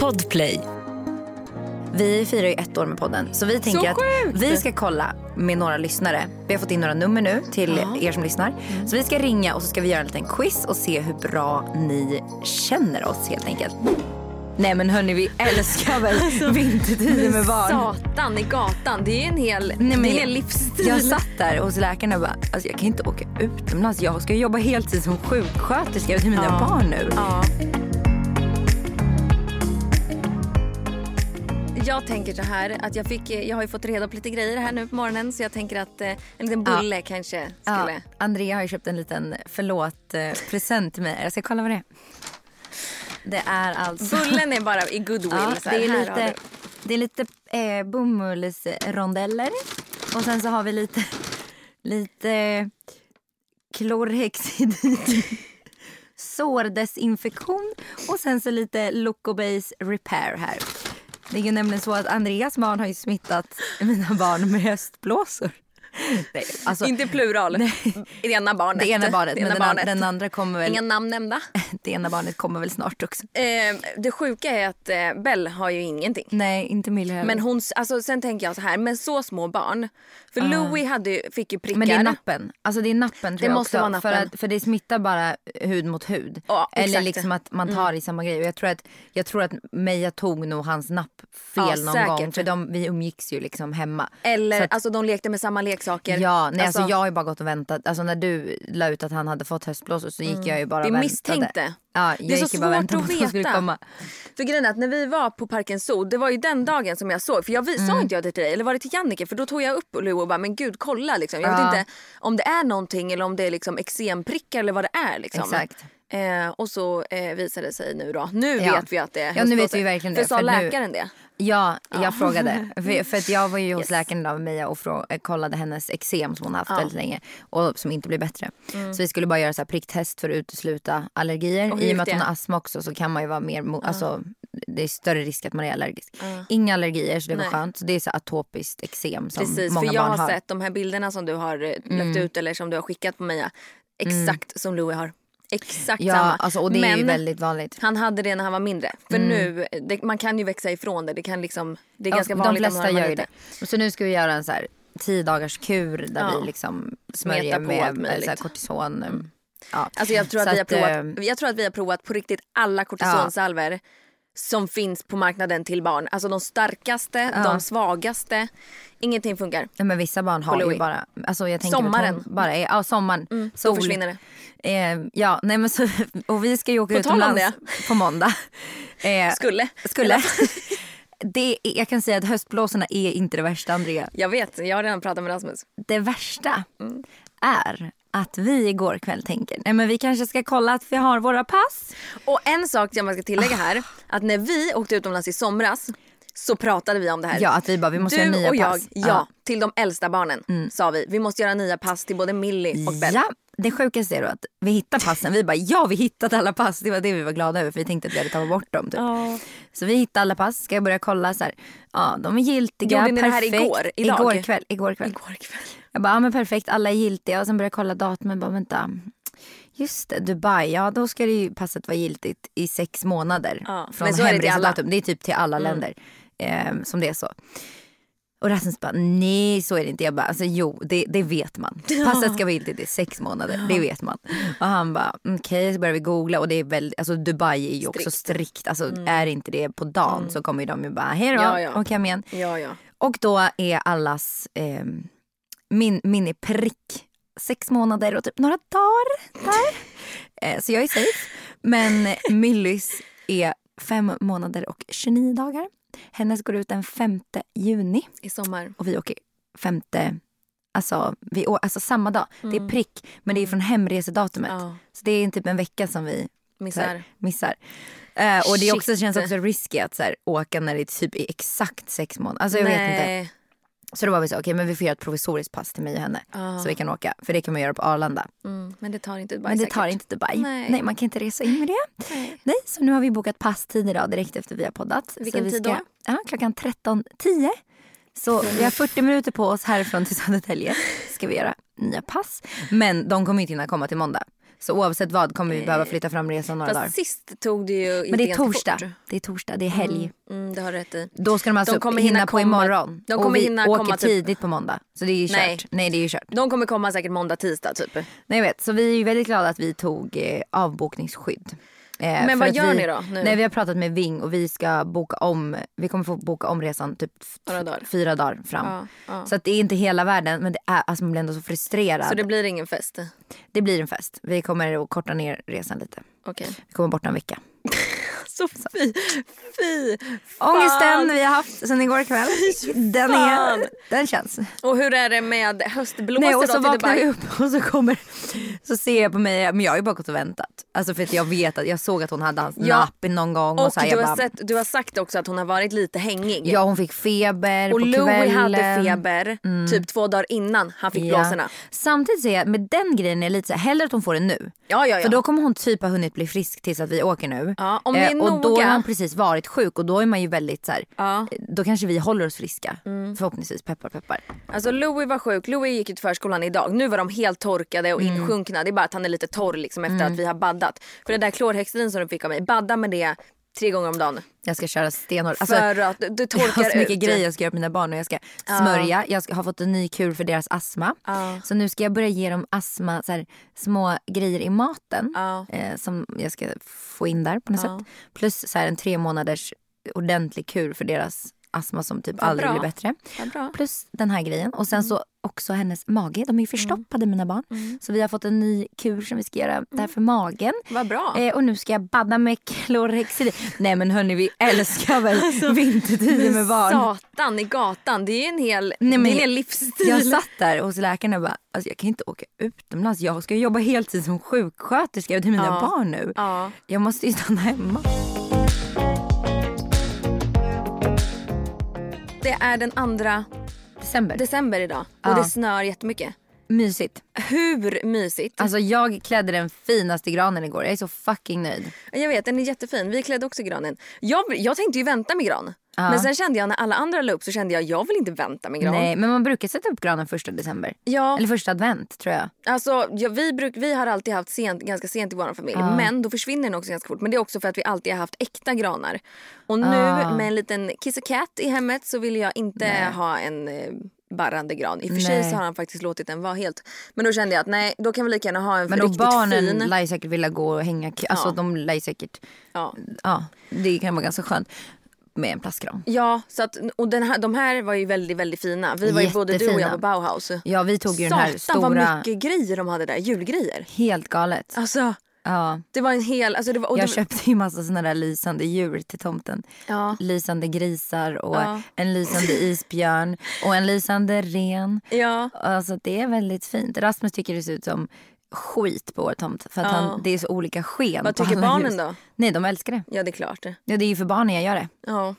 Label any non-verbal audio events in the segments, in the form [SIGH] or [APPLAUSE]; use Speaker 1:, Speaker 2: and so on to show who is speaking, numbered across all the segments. Speaker 1: Podplay. Vi firar ju ett år med podden. Så vi tänker att
Speaker 2: sjukt!
Speaker 1: vi ska kolla med några lyssnare. Vi har fått in några nummer nu till er som lyssnar.
Speaker 2: Mm.
Speaker 1: Så vi ska ringa och så ska vi göra en liten quiz och se hur bra ni känner oss helt enkelt. Nej men hörni vi älskar
Speaker 2: [LAUGHS]
Speaker 1: väl
Speaker 2: Alltså,
Speaker 1: vintertider med barn.
Speaker 2: Satan i gatan, det är en hel,
Speaker 1: Nej, men
Speaker 2: det är en
Speaker 1: jag-
Speaker 2: hel livsstil.
Speaker 1: Jag satt där hos läkaren och bara, alltså jag kan inte åka utomlands. Jag ska ju jobba heltid som sjuksköterska till mina barn nu.
Speaker 2: Ja. Jag tänker så här att jag, fick, jag har ju fått reda på lite grejer här nu på morgonen så jag tänker att eh, en liten bulle kanske skulle...
Speaker 1: Ja, Andrea har ju köpt en liten förlåt-present till mig. Jag ska kolla vad det är. Det är alltså...
Speaker 2: Bullen är bara i goodwill.
Speaker 1: Ja,
Speaker 2: så här,
Speaker 1: det är
Speaker 2: här
Speaker 1: lite,
Speaker 2: har du.
Speaker 1: det är lite eh, bomullsrondeller. Och sen så har vi lite, lite klorhexidin. Sårdesinfektion och sen så lite Locobase repair här. Det är ju nämligen så att Andreas barn har ju smittat mina barn med höstblåsor. Nej, alltså,
Speaker 2: Inte plural. Det ena barnet.
Speaker 1: det ena barnet,
Speaker 2: Det
Speaker 1: men
Speaker 2: ena
Speaker 1: den, an-
Speaker 2: barnet.
Speaker 1: den andra kommer väl,
Speaker 2: [LAUGHS] Inga namn nämnda.
Speaker 1: det ena barnet kommer väl snart också.
Speaker 2: Eh, det sjuka är att eh, Bell har ju ingenting.
Speaker 1: Nej, inte Milja heller.
Speaker 2: Men hon, alltså, sen tänker jag så här, men så små barn. För Louis hade, ju- fick ju prickar.
Speaker 1: Ah. Men det är nappen. Alltså det är nappen tror
Speaker 2: Det
Speaker 1: jag
Speaker 2: måste
Speaker 1: också.
Speaker 2: vara nappen.
Speaker 1: För, att, för det smittar bara hud mot hud.
Speaker 2: Ja,
Speaker 1: Eller
Speaker 2: exakt.
Speaker 1: liksom att man tar i samma grej. Och jag tror att, jag tror att Meja tog nog hans napp fel
Speaker 2: Ja,
Speaker 1: någon
Speaker 2: säkert.
Speaker 1: gång. För de, vi umgicks ju liksom hemma.
Speaker 2: Eller
Speaker 1: Så att-
Speaker 2: alltså de lekte med samma leksaker.
Speaker 1: Ja, nej, alltså, jag har ju bara gått och väntat. Alltså när du la ut att han hade fått höstblåsor så gick jag ju bara
Speaker 2: Vi
Speaker 1: och väntade.
Speaker 2: misstänkte.
Speaker 1: Ja, jag
Speaker 2: det är
Speaker 1: gick
Speaker 2: så
Speaker 1: ju bara och
Speaker 2: svårt
Speaker 1: väntade på
Speaker 2: att
Speaker 1: att de skulle
Speaker 2: veta.
Speaker 1: komma. Mm.
Speaker 2: För grejen är att när vi var på Parken Zoo, det var ju den dagen som jag såg. För jag vi- sa inte jag det till dig, eller var det till Jannike? För då tog jag upp Lou och bara, men gud kolla liksom. Jag
Speaker 1: Ja.
Speaker 2: vet inte om det är någonting eller om det är liksom eksemprickar eller vad det är liksom.
Speaker 1: Exakt.
Speaker 2: Eh, och så eh, visade det sig nu då. Nu
Speaker 1: Ja.
Speaker 2: vet vi att det är
Speaker 1: Ja, nu vet vi
Speaker 2: höstblåsor.
Speaker 1: verkligen
Speaker 2: För
Speaker 1: det,
Speaker 2: sa
Speaker 1: för nu-
Speaker 2: läkaren det?
Speaker 1: Ja, jag frågade.
Speaker 2: [LAUGHS]
Speaker 1: För, för att jag var ju hos
Speaker 2: Yes.
Speaker 1: läkaren idag med Mia och frå- eh, kollade hennes eksem som hon har haft
Speaker 2: Ja. Mm.
Speaker 1: väldigt länge och som inte blir bättre. Så vi skulle bara göra så här pricktest för att utesluta allergier.
Speaker 2: Och hur
Speaker 1: I och
Speaker 2: gick
Speaker 1: med att hon
Speaker 2: det?
Speaker 1: har astma också så kan man ju vara mer, mo- alltså det är större risk att man är allergisk. Inga allergier så det var
Speaker 2: Nej.
Speaker 1: skönt. Så det är så här atopiskt eksem som
Speaker 2: Precis,
Speaker 1: många
Speaker 2: för jag
Speaker 1: barn
Speaker 2: har
Speaker 1: har. Mm.
Speaker 2: sett de här bilderna som du har eh, lagt ut eller som du har skickat på mig. Exakt som Louis har. Exakt
Speaker 1: ja,
Speaker 2: samma.
Speaker 1: alltså, och det är ju
Speaker 2: Men
Speaker 1: väldigt vanligt.
Speaker 2: han hade det när han var mindre. För nu, eh, det, man kan ju växa ifrån det. Det, kan liksom, det är
Speaker 1: Ja,
Speaker 2: ganska
Speaker 1: de
Speaker 2: vanligt. om
Speaker 1: flesta
Speaker 2: man har
Speaker 1: gör ju
Speaker 2: lite.
Speaker 1: det. Och Så nu ska vi göra en så här tio dagars kur där
Speaker 2: Ja.
Speaker 1: vi liksom
Speaker 2: Smeta
Speaker 1: smörjer
Speaker 2: på
Speaker 1: med
Speaker 2: allt möjligt.
Speaker 1: eh, så här kortison. mm. Ja.
Speaker 2: liksom. Mm. Alltså jag, tror
Speaker 1: Så
Speaker 2: att vi har
Speaker 1: att, ehm,
Speaker 2: provat, jag tror att vi har provat på riktigt alla kortisonsalver som finns på marknaden till barn. Alltså de starkaste, de svagaste. Ingenting funkar.
Speaker 1: Ja, men vissa barn har
Speaker 2: Louis.
Speaker 1: ju bara... Alltså jag tänker
Speaker 2: Sommaren.
Speaker 1: Att hon bara är, ja, sommaren. Mm,
Speaker 2: då försvinner det.
Speaker 1: Eh, ja, nej men så, [LAUGHS] och vi ska ju åka
Speaker 2: På tal om
Speaker 1: utomlands på
Speaker 2: [LAUGHS]
Speaker 1: måndag. Eh,
Speaker 2: Skulle.
Speaker 1: Skulle. Det är, jag kan säga att höstblåsorna är inte det värsta, Andrea.
Speaker 2: [LAUGHS] Jag vet, jag har redan pratat med Rasmus.
Speaker 1: Det värsta
Speaker 2: Mm.
Speaker 1: är att vi igår kväll tänker nej men vi kanske ska kolla att vi har våra pass.
Speaker 2: Och en sak som jag ska tillägga här.
Speaker 1: Ah.
Speaker 2: Att när vi åkte utomlands i somras så pratade vi om det här.
Speaker 1: Ja, att vi bara, vi måste
Speaker 2: du
Speaker 1: göra nya
Speaker 2: och jag,
Speaker 1: pass. Mm.
Speaker 2: ja, till de äldsta barnen sa vi. Vi måste göra nya pass till både Millie och Bell.
Speaker 1: Ja, det sjukaste är då att vi hittar passen. Vi bara ja, vi hittat alla pass. Det var det vi var glada över för vi tänkte att vi hade tagit bort dem. Typ. Så vi hittade alla pass. Ska jag börja kolla så här. Ja, de är giltiga.
Speaker 2: Gjorde ni det här
Speaker 1: perfekt.
Speaker 2: igår? Idag?
Speaker 1: Igår kväll. Igår kväll.
Speaker 2: Igår kväll.
Speaker 1: Jag bara, ja men perfekt, alla är giltiga. Och sen började jag kolla datumen. Bara vänta. Just det, Dubai. Ja, då ska det ju passet vara giltigt i sex månader.
Speaker 2: Ja,
Speaker 1: Från
Speaker 2: men så är det till Mm.
Speaker 1: hemresedatum. Det är typ till alla länder eh, som det är så. Och Rasmus bara, nej så är det inte. Jag bara, alltså jo det, det vet
Speaker 2: [LAUGHS]
Speaker 1: man. Passet ska vara giltigt i sex månader, det vet man. Och han bara, okej så börjar vi googla och det är väldigt, alltså Dubai är ju också strikt. Alltså är inte det på dagen så kommer ju de ju bara, hej då
Speaker 2: Mm. Ja, ja.
Speaker 1: och hem igen.
Speaker 2: Ja, ja.
Speaker 1: Och då är allas eh, min, min är prick sex månader och typ några dagar
Speaker 2: [LAUGHS]
Speaker 1: där. Eh, så jag är safe. Men Millys är fem månader och 29 dagar. Hennes går ut den 5 juni
Speaker 2: I sommar.
Speaker 1: och vi åker 5 Alltså, vi, å- alltså samma dag. Det är prick, men det är från hemresedatumet.
Speaker 2: Mm. Ja.
Speaker 1: Så det är typ en vecka som vi så
Speaker 2: Missar.
Speaker 1: här, missar. Eh, och det är också,
Speaker 2: Shit.
Speaker 1: känns också risky att så här, åka när det typ är exakt sex månader. Alltså jag vet inte.
Speaker 2: Nej.
Speaker 1: Så då var vi så, okej men vi får göra ett provisoriskt pass till mig och henne.
Speaker 2: Ah.
Speaker 1: Så vi kan åka, för det kan man göra på Arlanda.
Speaker 2: Mm, men det tar inte Dubai
Speaker 1: Men det
Speaker 2: säkert.
Speaker 1: tar inte Dubai.
Speaker 2: Nej.
Speaker 1: man kan inte resa in med det. Nej. så nu har vi bokat passtid idag direkt efter vi har poddat.
Speaker 2: Vilken
Speaker 1: så vi
Speaker 2: tid då?
Speaker 1: Ja, klockan 13.10. Så vi har 40 minuter på
Speaker 2: [LAUGHS]
Speaker 1: oss härifrån till Södertälje. Ska vi göra nya pass. Men de kommer inte hinna komma till måndag. Så oavsett vad kommer vi behöva flytta fram resan några
Speaker 2: Fast
Speaker 1: dagar.
Speaker 2: sist tog det ju
Speaker 1: Men det är
Speaker 2: ganska
Speaker 1: torsdag.
Speaker 2: fort.
Speaker 1: Det är torsdag, det är helg.
Speaker 2: Mm, det har du rätt i.
Speaker 1: Då ska de alltså
Speaker 2: De kommer
Speaker 1: hinna,
Speaker 2: hinna
Speaker 1: på
Speaker 2: komma-
Speaker 1: imorgon.
Speaker 2: de kommer
Speaker 1: och vi
Speaker 2: hinna
Speaker 1: åker
Speaker 2: komma typ-
Speaker 1: tidigt på måndag. Så det är ju kört.
Speaker 2: Nej.
Speaker 1: Nej, det är ju kört.
Speaker 2: De kommer komma säkert måndag, tisdag typ.
Speaker 1: Nej, jag vet. Så vi är ju väldigt glada att vi tog eh, avbokningsskydd. Eh, för
Speaker 2: vad
Speaker 1: att
Speaker 2: gör
Speaker 1: vi,
Speaker 2: ni då nu?
Speaker 1: Nej, vi har pratat med Ving och vi ska boka om. Vi kommer få boka om resan typ f-
Speaker 2: Några dagar.
Speaker 1: fyra dagar fram.
Speaker 2: Ja, ja.
Speaker 1: Så att det är inte hela världen men det är, alltså man blir ändå så frustrerad.
Speaker 2: Så
Speaker 1: det...
Speaker 2: det blir ingen fest?
Speaker 1: blir en fest. Vi kommer att korta ner resan lite.
Speaker 2: Okej.
Speaker 1: Vi kommer borta en vecka.
Speaker 2: Så fy, fy, fan.
Speaker 1: Ångesten vi har haft sen igår
Speaker 2: [LAUGHS]
Speaker 1: kväll. Den,
Speaker 2: fan.
Speaker 1: är, den känns.
Speaker 2: Och hur är det med höstblåset
Speaker 1: Nej, och
Speaker 2: då
Speaker 1: så
Speaker 2: till
Speaker 1: vaknar
Speaker 2: Dubai?
Speaker 1: jag upp [LAUGHS] och så kommer så ser jag på mig, men jag har ju bara gått och väntat. Alltså för att jag vet att jag såg att hon hade hans
Speaker 2: Ja.
Speaker 1: napp någon gång och,
Speaker 2: Och
Speaker 1: så här,
Speaker 2: du,
Speaker 1: jag
Speaker 2: har
Speaker 1: bara,
Speaker 2: sett, du har sagt också att hon har varit lite hängig.
Speaker 1: ja hon fick feber
Speaker 2: och
Speaker 1: på
Speaker 2: Louie
Speaker 1: kvällen. Mm.
Speaker 2: hade feber typ två dagar innan han fick
Speaker 1: Ja.
Speaker 2: blåsorna.
Speaker 1: Samtidigt ser jag med den grejen är jag lite så här, hellre att hon får det nu.
Speaker 2: Ja, ja, ja.
Speaker 1: För då kommer hon typ ha hunnit bli frisk tills att vi åker nu. Eh,
Speaker 2: Ja, om ni är
Speaker 1: och då
Speaker 2: noga.
Speaker 1: har hon precis varit sjuk och då är man ju väldigt så här, eh,
Speaker 2: Ja. Mm.
Speaker 1: då kanske vi håller oss friska. Förhoppningsvis, peppar peppar.
Speaker 2: Alltså Louis var sjuk, Louis gick ju till förskolan idag. Nu var de helt torkade och
Speaker 1: Mm.
Speaker 2: insjunkna. Det är bara att han är lite torr liksom efter att vi har baddat. För det där klorhexidin som de fick av mig, badda med det tre gånger om dagen.
Speaker 1: Jag ska köra stenhårt. Alltså,
Speaker 2: för att du
Speaker 1: Jag har
Speaker 2: torkar
Speaker 1: så mycket
Speaker 2: ut.
Speaker 1: grejer jag ska göra på mina barn och jag ska smörja. Jag ska, har fått en ny kur för deras astma.
Speaker 2: Ja.
Speaker 1: Så nu ska jag börja ge dem astma, så här, små grejer i maten
Speaker 2: Ja.
Speaker 1: eh, som jag ska få in där på något
Speaker 2: Ja.
Speaker 1: sätt. Plus så här, en tre månaders ordentlig kur för deras astma som typ
Speaker 2: Vad
Speaker 1: aldrig
Speaker 2: bra. Mm.
Speaker 1: blir bättre.
Speaker 2: Vad bra.
Speaker 1: Plus den här grejen och sen så också hennes mage.
Speaker 2: Mm.
Speaker 1: De är ju förstoppade mina barn. Så vi har fått en ny kur som vi ska göra
Speaker 2: Mm.
Speaker 1: där för magen.
Speaker 2: Vad bra.
Speaker 1: Eh, och nu ska jag badda med klorhexidin. Nej men hörni
Speaker 2: [LAUGHS]
Speaker 1: vi älskar väl
Speaker 2: Alltså,
Speaker 1: vintertider med barn.
Speaker 2: Satan i gatan, det är ju en hel,
Speaker 1: Nej, men
Speaker 2: det är en hel
Speaker 1: jag-
Speaker 2: livsstil.
Speaker 1: Jag satt där hos läkaren och bara, alltså jag kan inte åka utomlands. Jag ska ju jobba heltid som sjuksköterska till mina
Speaker 2: Ja.
Speaker 1: barn nu.
Speaker 2: Ja.
Speaker 1: Jag måste ju stanna hemma.
Speaker 2: Det är den andra
Speaker 1: December.
Speaker 2: december idag och
Speaker 1: Ja.
Speaker 2: det snör jättemycket.
Speaker 1: Mysigt.
Speaker 2: Hur mysigt?
Speaker 1: Alltså jag klädde den finaste granen igår. Jag är så fucking nöjd.
Speaker 2: Jag vet, den är jättefin. Vi klädde också granen. Jag, jag tänkte ju vänta med gran. Men sen kände jag när alla andra la upp så kände jag jag vill inte vänta med gran.
Speaker 1: Nej, men man brukar sätta upp granen första december.
Speaker 2: Ja,
Speaker 1: Eller första advent tror jag.
Speaker 2: alltså, ja, vi, bruk, vi har alltid haft sent, ganska sent i vår familj. Men då försvinner den också ganska fort. Men det är också för att vi alltid har haft äkta granar. Och nu
Speaker 1: Ah.
Speaker 2: med en liten kiss och cat i hemmet så vill jag inte ha en eh, barrande gran. I och för sig
Speaker 1: Nej.
Speaker 2: så har han faktiskt låtit den vara helt. Men då kände jag att nej, då kan vi lika gärna ha en
Speaker 1: Men då
Speaker 2: riktigt
Speaker 1: barnen
Speaker 2: fin.
Speaker 1: lär ju säkert vilja gå och hänga. Alltså
Speaker 2: Ja.
Speaker 1: de lär ju säkert,
Speaker 2: Ja.
Speaker 1: ja det kan vara ganska skönt med en plastgran.
Speaker 2: Ja, så att, och den här, de här var ju väldigt, väldigt fina. Vi var ju både du och jag
Speaker 1: Jättefina.
Speaker 2: på Bauhaus.
Speaker 1: Ja vi tog ju den här
Speaker 2: Satan vad
Speaker 1: stora,
Speaker 2: mycket grejer de hade där, julgrejer.
Speaker 1: helt galet.
Speaker 2: Alltså,
Speaker 1: Ja.
Speaker 2: det var en hel... Alltså, det var, och
Speaker 1: jag
Speaker 2: det,
Speaker 1: köpte ju massa såna där lysande djur till tomten.
Speaker 2: Ja.
Speaker 1: Lysande grisar och
Speaker 2: Ja.
Speaker 1: en lysande isbjörn och en lysande ren.
Speaker 2: Ja,
Speaker 1: Alltså det är väldigt fint. Rasmus tycker det ser ut som skit på vår tomt för att han, det är så olika sken.
Speaker 2: Vad
Speaker 1: på
Speaker 2: tycker
Speaker 1: alla
Speaker 2: barnen
Speaker 1: ljus.
Speaker 2: då?
Speaker 1: Nej de älskar det.
Speaker 2: ja, det är klart.
Speaker 1: Ja, det är ju för barnen jag gör det.
Speaker 2: Ja.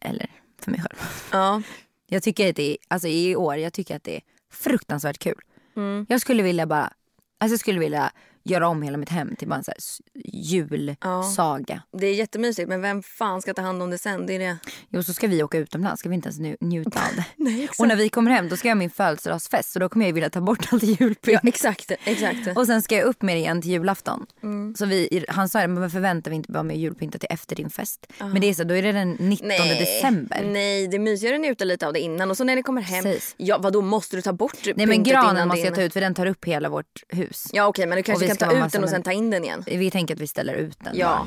Speaker 1: Eller för mig själv.
Speaker 2: Ja.
Speaker 1: Jag tycker att det är, alltså i år, jag tycker att det är fruktansvärt kul.
Speaker 2: Mm.
Speaker 1: Jag skulle vilja bara, alltså jag skulle vilja göra om hela mitt hem till bara en så här s- julsaga.
Speaker 2: Det är jättemysigt, men vem fan ska ta hand om det sen? Det är det.
Speaker 1: Jo, så ska vi åka utomlands. Ska vi inte ens nju- njuta
Speaker 2: [LAUGHS]
Speaker 1: av det? och när vi kommer hem då ska jag ha min födelsedagsfest. Så då kommer jag ju vilja ta bort allt julpynt.
Speaker 2: Exakt, exakt.
Speaker 1: Och sen ska jag upp med det igen till julafton.
Speaker 2: Mm.
Speaker 1: Så vi, han sa det, men varför väntar vi inte bara med julpyntet till efter din fest?
Speaker 2: Ah.
Speaker 1: Men det är så, då är det den 19 december.
Speaker 2: Nej, det är mysigare att njuta lite av det innan. Och så när ni kommer hem,
Speaker 1: Precis.
Speaker 2: ja, vadå, måste du ta bort
Speaker 1: Nej men granen måste jag
Speaker 2: din...
Speaker 1: ta ut för den tar upp hela vårt hus.
Speaker 2: Ja, okej, men du
Speaker 1: vi
Speaker 2: kanske kan
Speaker 1: ska
Speaker 2: ta
Speaker 1: ha
Speaker 2: ut
Speaker 1: massa
Speaker 2: den och sen
Speaker 1: män-
Speaker 2: ta in den igen.
Speaker 1: Vi tänker att vi ställer ut den.
Speaker 2: Ja.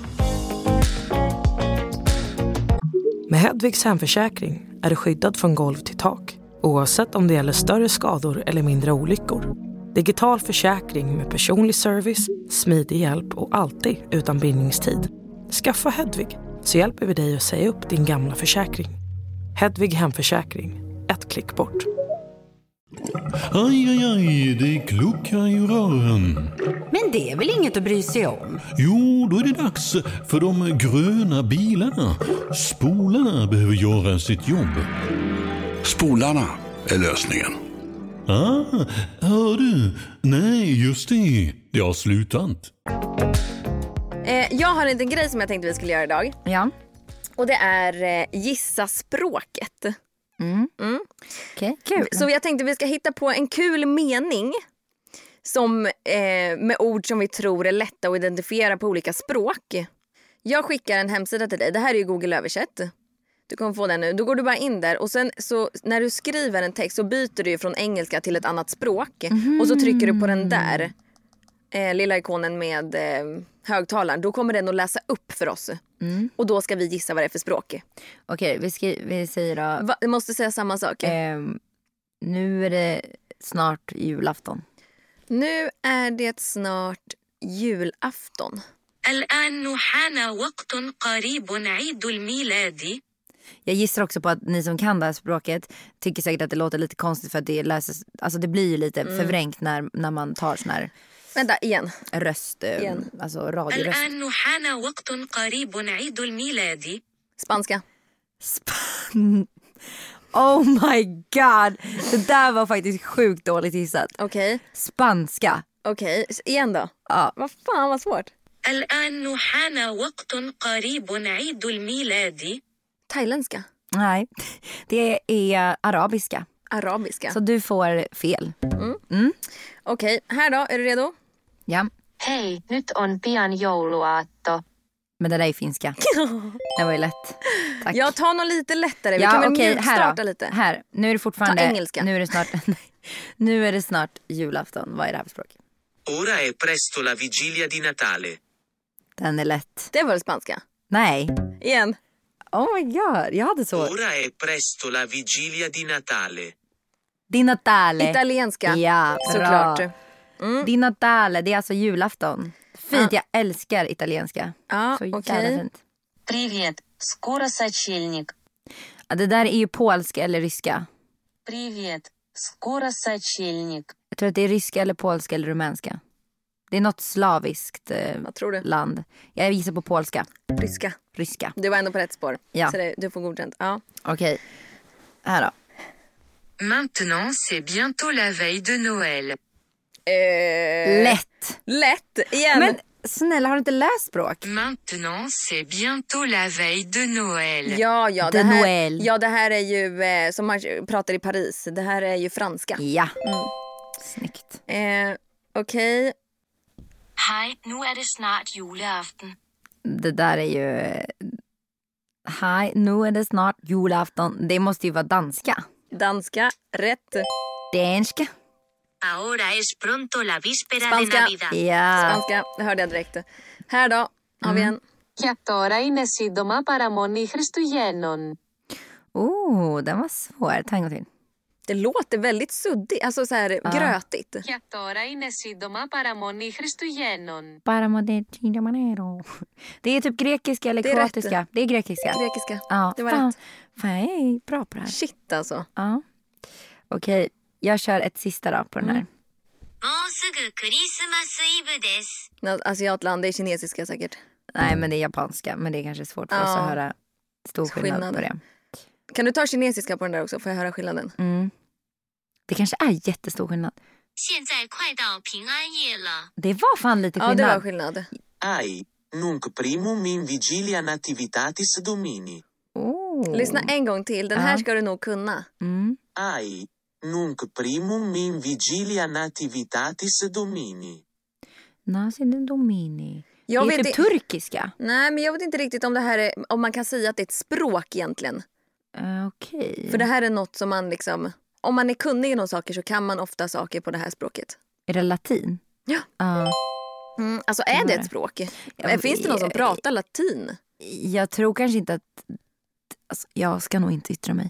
Speaker 3: Med Hedvigs hemförsäkring är du skyddad från golv till tak oavsett om det gäller större skador eller mindre olyckor. Digital försäkring med personlig service, smidig hjälp och alltid utan bindningstid. Skaffa Hedvig så hjälper vi dig att säga upp din gamla försäkring. Hedvig hemförsäkring, ett klick bort.
Speaker 4: Aj, aj, aj, det kluckar i rören.
Speaker 5: Men det är väl inget att bry sig om?
Speaker 4: Jo, då är det dags för de gröna bilarna. Spolarna behöver göra sitt jobb.
Speaker 6: Spolarna är lösningen.
Speaker 4: Ah, hör du? Nej, just det. Det har slutat.
Speaker 2: Eh, jag har en liten grej som jag tänkte vi skulle göra idag.
Speaker 1: Ja,
Speaker 2: Och det är eh, gissa språket.
Speaker 1: okej, Mm. kul.
Speaker 2: Så jag tänkte vi ska hitta på en kul mening som, eh, med ord som vi tror är lätta att identifiera på olika språk. Jag skickar en hemsida till dig. Det här är ju Google översätt. Du kommer få den nu. Då går du bara in där och sen så när du skriver en text så byter du ju från engelska till ett annat språk och så trycker du på den där eh, lilla ikonen med eh, högtalaren. Då kommer den att läsa upp för oss och då ska vi gissa vad det är för språk.
Speaker 1: Mm. Okej, vi, skri- vi säger då...
Speaker 2: Va, jag måste säga samma sak.
Speaker 1: ehm, nu är det snart julafton.
Speaker 2: Nu är det snart julafton.
Speaker 7: الآن حان وقت قريب عيد الميلاد
Speaker 1: Jag gissar också på att ni som kan det här språket tycker säkert att det låter lite konstigt för att det läses, alltså det blir ju lite förvrängt när, när man tar sån här
Speaker 2: Vänta, igen.
Speaker 1: röst, eh,
Speaker 2: Igen.
Speaker 1: alltså radioröst.
Speaker 7: الآن حان وقت قريب عيد الميلاد
Speaker 2: Spanska.
Speaker 1: Span- Oh my god! Det där var faktiskt sjukt dåligt gissat.
Speaker 2: Okej.
Speaker 1: Spanska.
Speaker 2: Okej, S- igen då.
Speaker 1: Ja.
Speaker 2: Vad fan vad svårt.
Speaker 7: الآن حان وقت قريب عيد الميلاد
Speaker 2: Thailändska.
Speaker 1: Nej, det är arabiska.
Speaker 2: Arabiska.
Speaker 1: Så du får fel.
Speaker 2: Okej, här då. Är du redo?
Speaker 1: Ja,
Speaker 8: Hei, nyt on pian jouluaatto.
Speaker 1: men det där är finska. Det var ju lätt. Tack.
Speaker 2: Jag tar någon lite lättare. Vi
Speaker 1: ja,
Speaker 2: kan väl
Speaker 1: okej, här
Speaker 2: mjukstarta
Speaker 1: då.
Speaker 2: lite.
Speaker 1: Här. Nu är det fortfarande...
Speaker 2: Ta engelska.
Speaker 1: Nu är det snart, [LAUGHS] nej. nu är det snart julafton. Vad är det här för språk?
Speaker 9: Ora è presto la vigilia di Natale.
Speaker 1: Den är lätt.
Speaker 2: Det var väl spanska?
Speaker 1: Nej.
Speaker 2: Igen.
Speaker 1: Oh my god, jag hade så.
Speaker 9: Ora è presto la vigilia di Natale.
Speaker 1: Di Natale.
Speaker 2: Italienska.
Speaker 1: Ja, bra.
Speaker 2: Såklart. Mm.
Speaker 1: Di Natale, det är alltså julafton. Fint, jag älskar italienska.
Speaker 2: Ja,
Speaker 1: så jävla
Speaker 2: okej.
Speaker 1: fint.
Speaker 8: Привет, скоро сочельник.
Speaker 1: Ja, det där är ju polska eller ryska.
Speaker 8: Привет, скоро сочельник.
Speaker 1: Jag tror att det är ryska eller polska eller rumänska. Det är något slaviskt eh,
Speaker 2: Vad tror du?
Speaker 1: land. Jag gissar på polska.
Speaker 2: Ryska.
Speaker 1: Ryska.
Speaker 2: Du var ändå på rätt spår.
Speaker 1: Ja.
Speaker 2: Så det, du får godkänt. Ja.
Speaker 1: Okej. Här då.
Speaker 7: Maintenant c'est bientôt la veille de Noël
Speaker 2: Eh,
Speaker 1: Lätt.
Speaker 2: lätt. Igen.
Speaker 1: Men snälla, har du inte läst språk?
Speaker 7: Maintenant c'est bientôt la veille de Noël
Speaker 2: Ja, ja, det
Speaker 1: De
Speaker 2: här,
Speaker 1: Noël.
Speaker 2: ja, det här är ju eh, som man pratar i Paris. Det här är ju franska.
Speaker 1: Ja.
Speaker 2: Mm.
Speaker 1: Snyggt.
Speaker 2: Eh, Okej.
Speaker 7: Hej, nu är det snart julafton
Speaker 1: Det där är ju... eh, Hej, nu är det snart julafton. Det måste ju vara danska.
Speaker 2: Danska. Rätt.
Speaker 1: Danska.
Speaker 7: Ahora es pronto la víspera
Speaker 2: Spanska.
Speaker 7: de Navidad
Speaker 1: Ja.
Speaker 2: Spanska. Det hörde jag direkt. Här då har vi
Speaker 1: Mm.
Speaker 2: en.
Speaker 8: Για τώρα είναι σύντομα παραμονή Χριστουγέννων.
Speaker 1: Oh, den var svår. Ta en gång till.
Speaker 2: Det låter väldigt suddigt, alltså så här grötigt.
Speaker 8: Για τώρα είναι σύντομα παραμονή Χριστουγέννων.
Speaker 1: Paramodetina manero. Det är typ grekiska eller
Speaker 2: Det är rätt.
Speaker 1: kroatiska. Det är grekiska.
Speaker 2: Grekiska.
Speaker 1: Ja,
Speaker 2: Det var
Speaker 1: fan,
Speaker 2: rätt.
Speaker 1: fan, jag är bra på det här.
Speaker 2: Shit alltså.
Speaker 1: Ja. Okej, jag kör ett sista då på den här.
Speaker 7: Oh,
Speaker 2: Något asiatland, det är kinesiska säkert.
Speaker 1: Nej, men det är japanska. Men det är kanske svårt för oss
Speaker 2: Mm. Ja.
Speaker 1: att höra stor skillnad,
Speaker 2: Skillnad.
Speaker 1: på det.
Speaker 2: Kan du ta kinesiska på den där också? Får jag höra skillnaden?
Speaker 1: Mm. Det kanske är jättestor skillnad. Det var fan lite
Speaker 2: Ja,
Speaker 1: skillnad.
Speaker 2: det var skillnad.
Speaker 9: Ai, nunc primum in vigilia nativitatis domini.
Speaker 1: oh.
Speaker 2: Lyssna en gång till. Den här ska du nog kunna.
Speaker 1: Mm.
Speaker 9: Ai, nunc primum in vigilia nativitatis domini.
Speaker 1: Nasin domini.
Speaker 2: Jag
Speaker 1: det är
Speaker 2: vet
Speaker 1: typ
Speaker 2: i-
Speaker 1: turkiska.
Speaker 2: Nej, men jag vet inte riktigt om det här är, om man kan säga att det är ett språk egentligen.
Speaker 1: Uh, Okej.
Speaker 2: För det här är något som man liksom... Om man är kunnig inom saker så kan man ofta saker på det här språket.
Speaker 1: Är det latin?
Speaker 2: Ja.
Speaker 1: Ja.
Speaker 2: Mm, alltså är
Speaker 1: var
Speaker 2: det
Speaker 1: det.
Speaker 2: ett språk?
Speaker 1: men-
Speaker 2: Men Finns det någon som pratar latin?
Speaker 1: Jag tror kanske inte att... Alltså, jag ska nog inte yttra mig.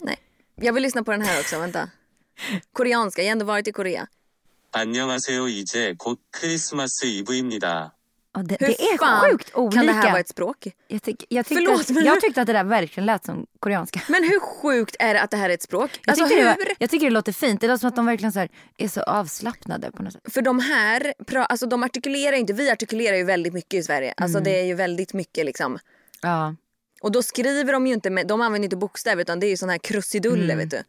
Speaker 2: Jag vill lyssna på den här
Speaker 1: [LAUGHS]
Speaker 2: också, vänta. Koreanska, jag har ändå varit i Korea.
Speaker 9: 안녕하세요. 이제 곧 크리스마스 이브입니다.
Speaker 1: Ja, det,
Speaker 2: Hur
Speaker 1: det är
Speaker 2: fan
Speaker 1: sjukt olika.
Speaker 2: Kan det här vara ett språk?
Speaker 1: jag, tyck, jag, tyckte
Speaker 2: Förlåt,
Speaker 1: att,
Speaker 2: men-
Speaker 1: jag tyckte att det där verkligen lät som koreanska.
Speaker 2: Men hur sjukt är det att det här är ett språk?
Speaker 1: Jag,
Speaker 2: Alltså
Speaker 1: tycker det var,
Speaker 2: hur?
Speaker 1: jag tycker det låter fint. Det låter som att de verkligen så här, är så avslappnade på något sätt.
Speaker 2: För de här, pra, alltså de artikulerar ju inte, vi artikulerar ju väldigt mycket i Sverige. Alltså
Speaker 1: Mm.
Speaker 2: det är ju väldigt mycket liksom.
Speaker 1: Ja.
Speaker 2: Och då skriver de ju inte, med, de använder ju inte bokstäver utan det är ju sådana här
Speaker 1: Mm.
Speaker 2: krusiduller vet du.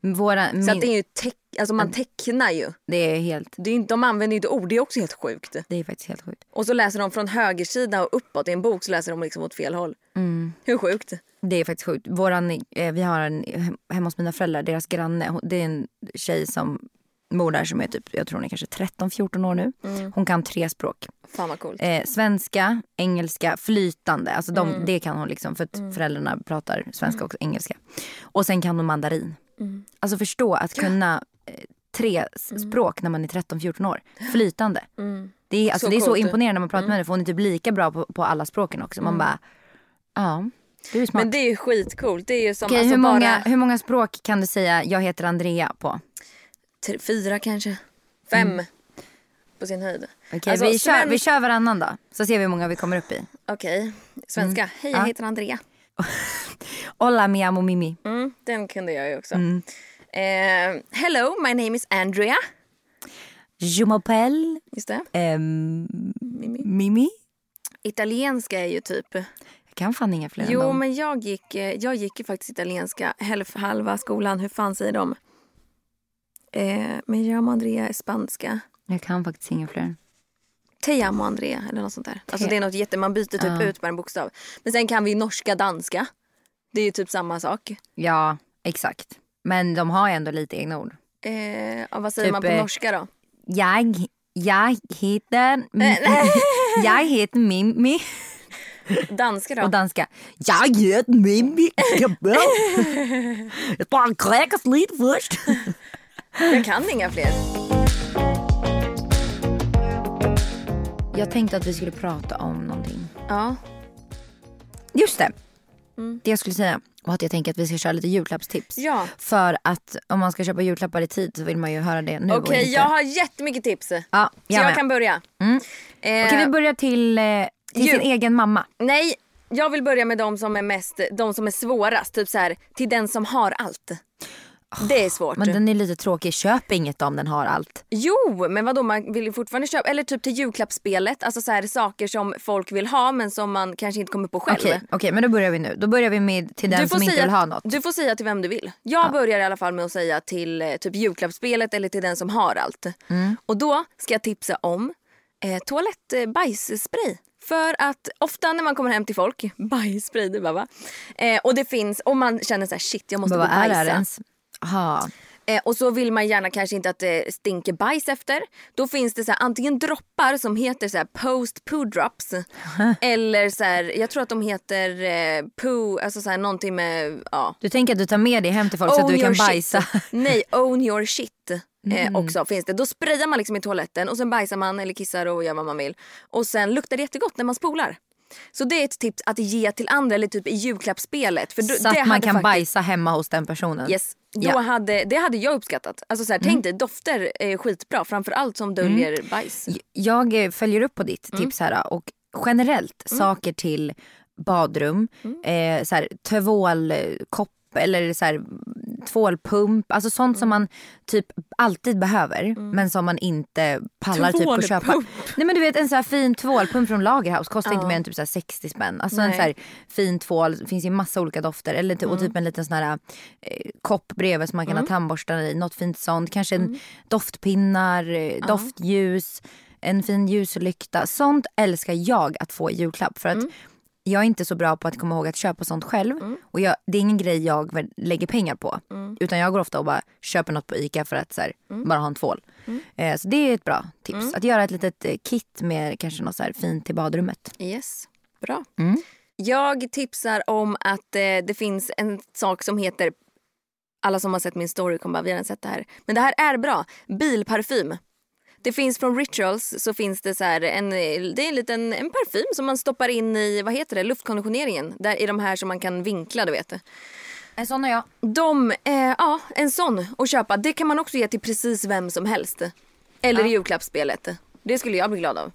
Speaker 1: Våra, min,
Speaker 2: Så att det
Speaker 1: det,
Speaker 2: är
Speaker 1: är...
Speaker 2: ju teck, alltså
Speaker 1: Mm.
Speaker 2: man tecknar ju.
Speaker 1: helt...
Speaker 2: Det är ju, inte- de använder ju inte ord, det är också helt sjukt.
Speaker 1: Det är faktiskt helt sjukt.
Speaker 2: Och så läser de från högersida och uppåt i en bok så läser de liksom åt fel håll.
Speaker 1: Mm.
Speaker 2: Hur sjukt?
Speaker 1: Det är faktiskt sjukt. Våran, eh, vi har en, hemma hos mina föräldrar, deras granne, hon- det är en tjej som mor där som är typ, jag tror hon är kanske 13-14 år nu.
Speaker 2: Mm.
Speaker 1: Hon kan tre språk.
Speaker 2: Fan vad coolt.
Speaker 1: Eh, svenska, engelska, flytande. Alltså de,
Speaker 2: Mm.
Speaker 1: Det kan hon liksom för att föräldrarna pratar svenska och engelska. Och sen kan hon mandarin.
Speaker 2: Mm.
Speaker 1: Alltså förstå att kunna eh, tre s- språk när man är 13-14 år. Flytande. Det är, alltså,
Speaker 2: Mm. Så
Speaker 1: det är så
Speaker 2: coolt. Mm.
Speaker 1: imponerande när man pratar med henne för hon är typ lika bra på, på alla språken också. Man bara, ja, du är smart.
Speaker 2: Men det är ju skitcoolt. Det är ju som
Speaker 1: Okej,
Speaker 2: alltså
Speaker 1: hur, många,
Speaker 2: bara
Speaker 1: hur många språk kan du säga jag heter Andrea på?
Speaker 2: tre, fyra kanske. Fem. På sin höjd.
Speaker 1: Mm. Okej,
Speaker 2: Alltså,
Speaker 1: vi, kör,
Speaker 2: svensk-
Speaker 1: vi kör varannan då, så ser vi hur många vi kommer upp i.
Speaker 2: Okej. Svenska.
Speaker 1: Mm.
Speaker 2: Hej jag heter Andrea.
Speaker 1: Hola mi amo Mimi.
Speaker 2: Mm, den kunde jag ju också.
Speaker 1: Mm.
Speaker 2: Eh, hello my name is Andrea.
Speaker 1: Je m'appelle
Speaker 2: Just det.
Speaker 1: ehm,
Speaker 2: Mimi.
Speaker 1: Mimi.
Speaker 2: Italienska är ju typ.
Speaker 1: Jag kan fan inga fler än
Speaker 2: Jo
Speaker 1: dem.
Speaker 2: men jag gick, eh, jag gick ju faktiskt italienska hälf, halva skolan. Hur fan säger de? Eh, men jag amo Andrea är spanska.
Speaker 1: Jag kan faktiskt inga fler.
Speaker 2: Te amo Andrea eller något sånt där. Alltså det är något jätte, man byter typ ut bara en bokstav. Men sen kan vi norska, danska. Det är ju typ samma sak.
Speaker 1: Ja, exakt. Men de har ju ändå lite egna ord.
Speaker 2: Eh, ja, vad säger
Speaker 1: Typ,
Speaker 2: man på
Speaker 1: eh,
Speaker 2: norska då?
Speaker 1: Jag, jag heter... [LAUGHS] jag heter Mimi.
Speaker 2: Danska då?
Speaker 1: Och danska. Jag heter Mimi. Jag bara kräkas lite först.
Speaker 2: jag kan inga fler.
Speaker 1: Jag tänkte att vi skulle prata om någonting.
Speaker 2: Ja.
Speaker 1: Just det. Det jag skulle säga var att jag tänker att vi ska köra lite julklappstips.
Speaker 2: Ja.
Speaker 1: För att om man ska köpa julklappar i tid så vill man ju höra det nu. och
Speaker 2: Okej,
Speaker 1: inte-
Speaker 2: jag har jättemycket tips.
Speaker 1: Ja,
Speaker 2: så
Speaker 1: jag
Speaker 2: jag
Speaker 1: med.
Speaker 2: kan börja.
Speaker 1: Mm.
Speaker 2: Eh,
Speaker 1: Okej, vi börjar till, eh, till sin
Speaker 2: jul.
Speaker 1: egen mamma.
Speaker 2: Nej, jag vill börja med de som är mest, de som är svårast. Typ så här, till den som har allt. Det är svårt.
Speaker 1: Men den är lite tråkig. Köp inget om den har allt.
Speaker 2: Jo, men vadå man vill ju fortfarande köpa, eller typ till julklappsspelet. Alltså så här, saker som folk vill ha men som man kanske inte kommer på själv.
Speaker 1: Okej, okej, men då börjar vi nu. Då börjar vi med till den som inte vill ha något.
Speaker 2: du får säga till vem du vill. Jag börjar i alla fall med att säga till eh, typ julklappsspelet eller till den som har allt.
Speaker 1: Mm.
Speaker 2: Och då ska jag tipsa om eh, toalettbajsspray. För att ofta när man kommer hem till folk, [LAUGHS] bajsspray du bara va? Eh, och det finns, och man känner så här shit jag måste
Speaker 1: Bara,
Speaker 2: gå och
Speaker 1: vad är det här
Speaker 2: bajsa.
Speaker 1: ens? Aha.
Speaker 2: Eh, och så vill man gärna kanske inte att det stinker bajs efter. Då finns det så här, antingen droppar som heter så här, post
Speaker 1: [LAUGHS]
Speaker 2: poo drops. eller så här, jag tror att de heter eh, poo, alltså så här, någonting med... Ja.
Speaker 1: Du tänker att du tar med dig hem till folk så att du kan bajsa.
Speaker 2: Oh,
Speaker 1: Mm.
Speaker 2: shit. [LAUGHS] Nej, own your shit. Eh, också finns det. Då sprayar man liksom i toaletten och sen bajsar man eller kissar och gör vad man vill. Och sen luktar det jättegott när man spolar. Så det är ett tips att ge till andra eller typ i julklappsspelet. För då-
Speaker 1: Så
Speaker 2: det
Speaker 1: att man
Speaker 2: hade
Speaker 1: kan
Speaker 2: faktiskt-
Speaker 1: bajsa hemma hos den personen.
Speaker 2: Yes. Då
Speaker 1: Ja. Mm.
Speaker 2: hade, det hade jag uppskattat. Alltså så här, Tänk dig, dofter är skitbra. Framförallt som döljer bajs.
Speaker 1: Jag eh, följer upp på ditt tips här då, och generellt saker till badrum, eh, så här, tvålkopp eller så här, tvålpump, alltså sånt som man typ alltid behöver men som man inte pallar typ att köpa.
Speaker 2: Tvålpump.
Speaker 1: Nej men du vet en så här fin tvålpump från Lagerhaus kostar inte mer än typ så här 60 spänn. Alltså en
Speaker 2: Nej.
Speaker 1: så här fin tvål, det finns ju massa olika dofter eller, ty- och typ en liten sån här eh, kopp bredvid som man kan ha tandborstar i, något fint sånt. Kanske en doftpinnar, eh, doftljus, en fin ljuslykta. Sånt älskar jag att få i julklapp för att jag är inte så bra på att komma ihåg att köpa sånt själv. Och jag, det är ingen grej jag väl lägger pengar på. Utan jag går ofta och bara köper något på ICA för att så här, bara ha en tvål. Eh, så det är ett bra tips. Att göra ett litet eh, kit med kanske något så här fint till badrummet.
Speaker 2: Yes, bra. Jag tipsar om att eh, det finns en sak som heter... Alla som har sett min story kommer bara, vi har redan sett det här. Men det här är bra. Bilparfym. Det finns från Rituals så finns det så här en, det är en liten en parfym som man stoppar in i vad heter det, luftkonditioneringen. Där, I de här som man kan vinkla, du vet.
Speaker 1: En sån har jag.
Speaker 2: De, eh, ja, en sån att köpa. Det kan man också ge till precis vem som helst. Eller i julklappsspelet. Det skulle jag bli glad av.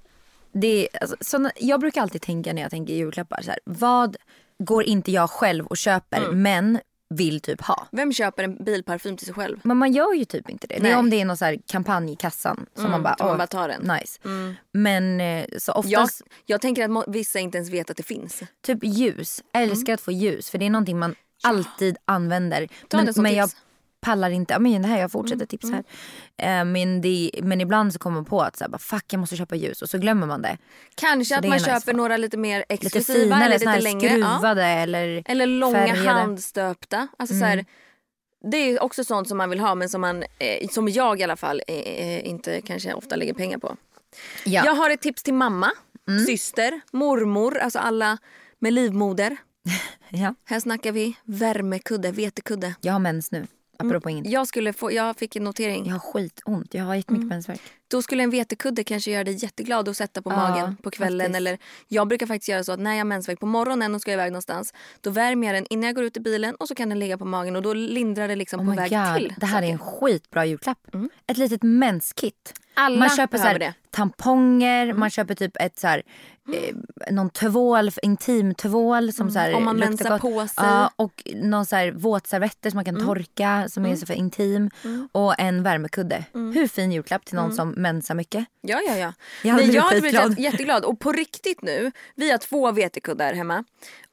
Speaker 1: Det är, alltså, såna, jag brukar alltid tänka när jag tänker julklappar så här, vad går inte jag själv och köper
Speaker 2: Mm.
Speaker 1: men vill typ ha?
Speaker 2: Vem köper en bilparfym till sig själv?
Speaker 1: Men man gör ju typ inte det. Det
Speaker 2: Nej.
Speaker 1: är om det är någon så här kampanj i kassan som man bara,
Speaker 2: som man
Speaker 1: "Åh,
Speaker 2: bara tar den." Mm.
Speaker 1: Nice. Men eh, så
Speaker 2: Jag,
Speaker 1: oftast
Speaker 2: jag tänker att må- vissa inte ens vet att det finns.
Speaker 1: typ ljus.
Speaker 2: Mm.
Speaker 1: Jag älskar att få ljus för det är någonting man alltid använder.
Speaker 2: Ta
Speaker 1: men
Speaker 2: det som
Speaker 1: men jag
Speaker 2: tips. Mm,
Speaker 1: pallar inte. Ja, Men det här, jag fortsätter tips här. Eh, men, det, men ibland så kommer man på att så här, bara, fuck jag måste köpa ljus och så glömmer man det.
Speaker 2: Kanske
Speaker 1: Så
Speaker 2: att
Speaker 1: det är
Speaker 2: man
Speaker 1: nice
Speaker 2: köper
Speaker 1: val.
Speaker 2: några lite mer
Speaker 1: Lite
Speaker 2: exklusiva
Speaker 1: fina
Speaker 2: eller
Speaker 1: eller, såna
Speaker 2: lite
Speaker 1: här
Speaker 2: längre. Ja.
Speaker 1: skruvade eller
Speaker 2: Eller långa
Speaker 1: färgade.
Speaker 2: handstöpta. Alltså så här, Det är också sånt som man vill ha men som, man, eh, som jag i alla fall eh, eh, inte kanske ofta lägger pengar på.
Speaker 1: Ja.
Speaker 2: Jag har ett tips till mamma, Mm. syster, mormor, alltså alla med livmoder.
Speaker 1: Ja.
Speaker 2: Här snackar vi värmekudde, vetekudde.
Speaker 1: Jag har mens nu, apropå inget.
Speaker 2: Jag, skulle få, jag fick en notering.
Speaker 1: Jag har skitont, jag har jättemycket
Speaker 2: Mm.
Speaker 1: mensvärk.
Speaker 2: Då skulle en vetekudde kanske göra dig jätteglad att sätta på
Speaker 1: Ja,
Speaker 2: magen på kvällen.
Speaker 1: faktiskt.
Speaker 2: Eller, jag brukar faktiskt göra så att när jag har mensvärk på morgonen och ska iväg någonstans då värmer jag den innan jag går ut i bilen och så kan den ligga på magen och då lindrar det liksom
Speaker 1: Oh
Speaker 2: på
Speaker 1: my
Speaker 2: väg
Speaker 1: God.
Speaker 2: till. Mm.
Speaker 1: Det här är en skitbra julklapp. Ett litet menskit.
Speaker 2: Alla Mm.
Speaker 1: man köper så här,
Speaker 2: behöver
Speaker 1: tamponger, man köper typ ett så här, eh, någon tvål, intimtvål som så här
Speaker 2: Mm. Om man
Speaker 1: luktar
Speaker 2: mensar
Speaker 1: gott.
Speaker 2: på sig. Mm.
Speaker 1: Ja, och någon så här våtservetter som man kan torka som är så för intim. Och en värmekudde.
Speaker 2: Mm.
Speaker 1: Hur fin julklapp till någon som mensar mycket.
Speaker 2: Ja, ja, ja.
Speaker 1: Jag hade
Speaker 2: Nej,
Speaker 1: blivit
Speaker 2: jag hade blivit
Speaker 1: skitglad.
Speaker 2: jät- jätteglad. Och på riktigt nu, vi har två vetekuddar hemma.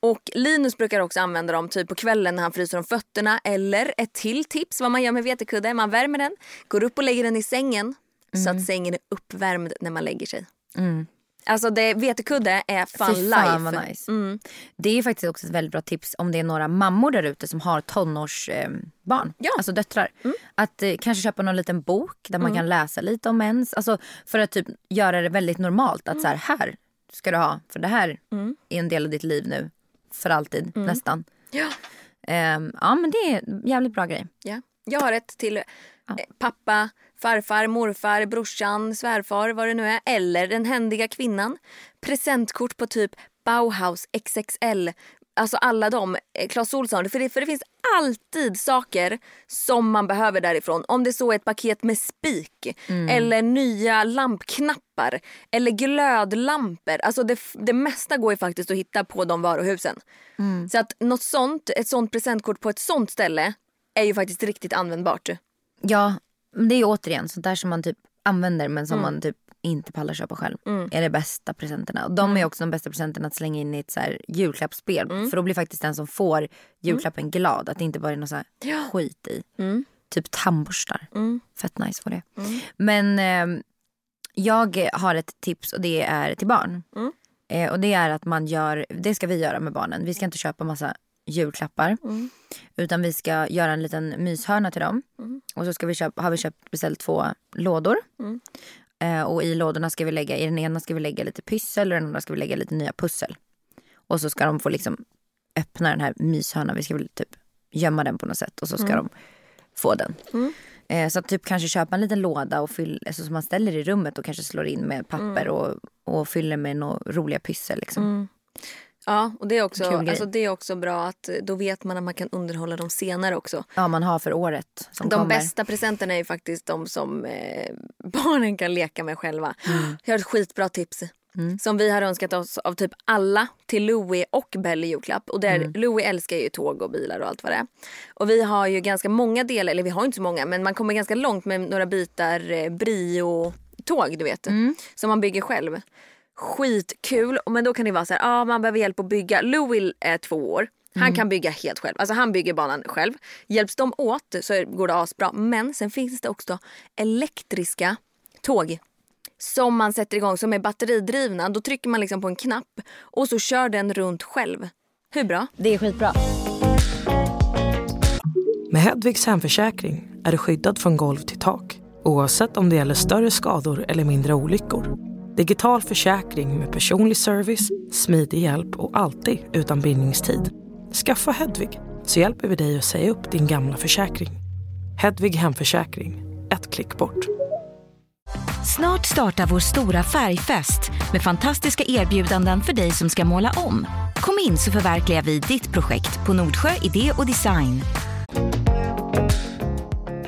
Speaker 2: Och Linus brukar också använda dem typ på kvällen när han fryser om fötterna. Eller ett till tips vad man gör med vetekuddar. Man värmer den, går upp och lägger den i sängen. Så
Speaker 1: Mm.
Speaker 2: att sängen är uppvärmd när man lägger sig. Alltså det, vetekudde är fan
Speaker 1: Fy
Speaker 2: life. Mm.
Speaker 1: fan vad nice. Det är faktiskt också ett väldigt bra tips om det är några mammor där ute som har tonårsbarn, barn,
Speaker 2: Ja. Mm.
Speaker 1: alltså döttrar. Att eh, kanske köpa någon liten bok där man kan läsa lite om mens. Alltså, för att typ göra det väldigt normalt.
Speaker 2: Mm.
Speaker 1: Att så här, här ska du ha, för det här är en del av ditt liv nu. För alltid,
Speaker 2: Mm.
Speaker 1: nästan.
Speaker 2: Ja.
Speaker 1: Ehm, ja men det är en jävligt bra grej.
Speaker 2: Ja. Jag har ett till eh, pappa, farfar, morfar, brorsan, svärfar, vad det nu är. Eller den händiga kvinnan. Presentkort på typ Bauhaus, XXL, alltså alla dem. eh, Clas Ohlson. För det, för det finns alltid saker som man behöver därifrån. Om det så är ett paket med spik eller nya lampknappar eller glödlampor. Alltså det, f- det mesta går ju faktiskt att hitta på de varuhusen. Så att något sånt, ett sånt presentkort på ett sånt ställe är ju faktiskt riktigt användbart.
Speaker 1: Ja, men det är ju återigen sånt där som man typ använder men som man typ inte pallar köpa själv. Är de bästa presenterna. Och de är också de bästa presenterna att slänga in i ett så här julklappsspel. För då blir faktiskt den som får julklappen glad. Att det inte bara är något så här skit i. Typ tandborstar. Fett nice var det. Men eh, jag har ett tips och det är till barn. Eh, och det är att man gör, det ska vi göra med barnen. Vi ska inte köpa massa julklappar. Utan vi ska göra en liten myshörna till dem. Och så ska vi köpa, har vi köpt, beställt två lådor. Eh, och i lådorna ska vi lägga, i den ena ska vi lägga lite pyssel och i den andra ska vi lägga lite nya pussel. Och så ska de få liksom öppna den här myshörnan. Vi ska väl typ gömma den på något sätt och så ska de få den. Eh, så att typ kanske köpa en liten låda och fyll, alltså som man ställer i rummet och kanske slår in med papper och, och fyller med några roliga pyssel. Liksom.
Speaker 2: Ja, och det är, också,
Speaker 1: Kul grej.
Speaker 2: alltså det är också bra att eh, då vet man att man kan underhålla dem senare också.
Speaker 1: Ja, man har för året som
Speaker 2: De
Speaker 1: kommer.
Speaker 2: bästa presenterna är ju faktiskt de som eh, [LAUGHS] barnen kan leka med själva. Jag har ett skitbra tips. Som vi har önskat oss av typ alla till Louie och Bell i julklapp. Och där, Louie älskar ju tåg och bilar och allt vad det är. Och vi har ju ganska många delar, eller vi har inte så många men man kommer ganska långt med några bitar eh, Brio-tåg du vet. Som man bygger själv. Skitkul. Men då kan det vara så här, ah, man behöver hjälp att bygga. Louie är två år. Han kan bygga helt själv. Alltså han bygger banan själv. Hjälps de åt så är- går det asbra. Men sen finns det också elektriska tåg som man sätter igång som är batteridrivna. Då trycker man liksom på en knapp och så kör den runt själv. Hur bra?
Speaker 1: Det är skitbra.
Speaker 3: Med Hedvigs hemförsäkring är du skyddad från golv till tak oavsett om det gäller större skador eller mindre olyckor. Digital försäkring med personlig service, smidig hjälp och alltid utan bindningstid. Skaffa Hedvig så hjälper vi dig att säga upp din gamla försäkring. Hedvig hemförsäkring, ett klick bort.
Speaker 5: Snart startar vår stora färgfest med fantastiska erbjudanden för dig som ska måla om. Kom in så förverkligar vi ditt projekt på Nordsjö Idé och Design.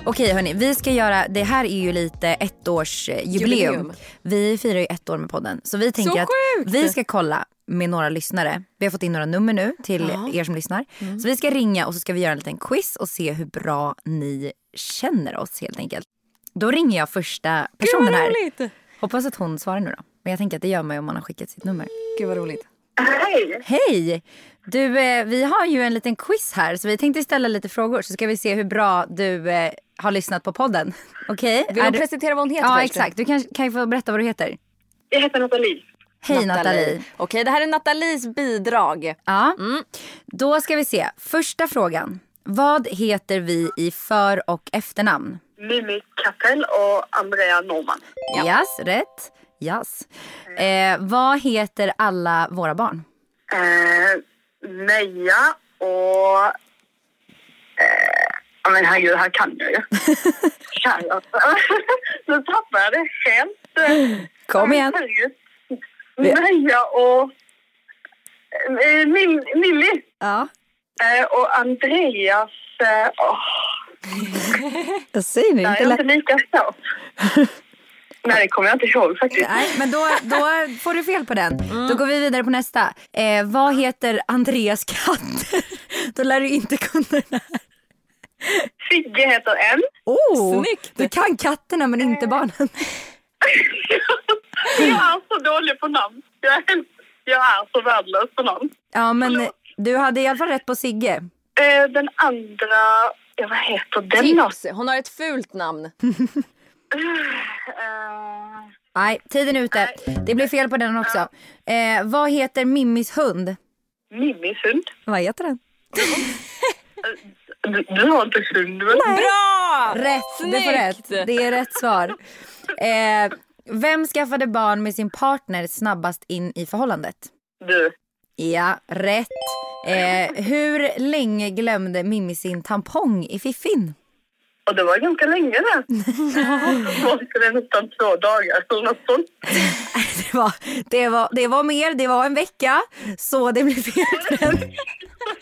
Speaker 1: Okej hörni, vi ska göra, det här är ju lite ettårsjubileum.
Speaker 2: Jubileum.
Speaker 1: Vi firar ju ett år med podden. Så vi tänker
Speaker 2: Så
Speaker 1: att
Speaker 2: sjukt!
Speaker 1: vi ska kolla med några lyssnare. Vi har fått in några nummer nu till er som lyssnar.
Speaker 2: Mm.
Speaker 1: Så vi ska ringa och så ska vi göra en liten quiz och se hur bra ni känner oss helt enkelt. Då ringer jag första personen här. Hoppas att hon svarar nu då. Men jag tänker att det gör man ju om man har skickat sitt nummer.
Speaker 2: Gud vad roligt.
Speaker 1: Hej! Du, eh, vi har ju en liten quiz här så vi tänkte ställa lite frågor så ska vi se hur bra du eh, har lyssnat på podden. Okej?
Speaker 2: Vill
Speaker 1: är
Speaker 2: du presentera vad hon heter
Speaker 1: Ja,
Speaker 2: först?
Speaker 1: exakt. Du kan, kan ju få berätta vad du heter.
Speaker 10: Jag heter Nathalie.
Speaker 1: Hej Nathalie.
Speaker 2: Okej, det här är Nathalies bidrag.
Speaker 1: Ja. Då ska vi se. Första frågan. Vad heter vi i för och efternamn?
Speaker 10: Mimi Kapell och Andrea Norman.
Speaker 1: Ja. Yes, rätt. Yes. Eh, vad heter alla våra barn?
Speaker 10: Eh, Meja och... Eh, ja, men herregud, här kan
Speaker 1: [LAUGHS]
Speaker 10: jag ju. Kan jag? [LAUGHS] nu tappar jag det helt.
Speaker 1: Kom igen.
Speaker 10: Herregud. Meja och... Eh, Mim- Mimmi
Speaker 1: Ja.
Speaker 10: eh, och Andreas... Eh, åh,
Speaker 1: Jag säger nu
Speaker 10: där är
Speaker 1: inte
Speaker 10: jag
Speaker 1: lätt.
Speaker 10: inte lika
Speaker 1: [LAUGHS]
Speaker 10: snabb. Nej, det kommer jag inte ihåg faktiskt.
Speaker 1: Nej, men då, då får du fel på den. Då går vi vidare på nästa. Eh, vad heter Andreas katt? [LAUGHS] då lär du inte kunna den här.
Speaker 10: Sigge heter en.
Speaker 1: Oh,
Speaker 2: Snyggt.
Speaker 1: Du kan katterna men inte barnen.
Speaker 10: jag är så dålig på namn. Jag är, jag är så värdelös på namn.
Speaker 1: Ja, men eh, du hade i alla fall rätt på Sigge.
Speaker 10: Eh, den andra... Ja, vad heter den då?
Speaker 2: Tips! Hon har ett fult namn.
Speaker 10: Eh,
Speaker 1: Nej, tiden är ute. Det blev fel på den också. Eh, vad heter Mimmis hund?
Speaker 10: Mimmis hund.
Speaker 1: Vad heter den?
Speaker 10: Du, du har inte hund, väl?
Speaker 2: Bra!
Speaker 1: Rätt! Du får rätt.
Speaker 2: Snyggt!
Speaker 1: Det är rätt svar. Eh, vem skaffade barn med sin partner snabbast in i förhållandet?
Speaker 10: Du.
Speaker 1: Ja, rätt. Eh, hur länge glömde Mimmi sin tampong i fiffin? [LAUGHS]
Speaker 10: Och det var ganska länge det. Det var inte det nästan två dagar eller något sånt.
Speaker 1: Det var, det, var, det var mer, det var en vecka, så det blev fel på den. [LAUGHS]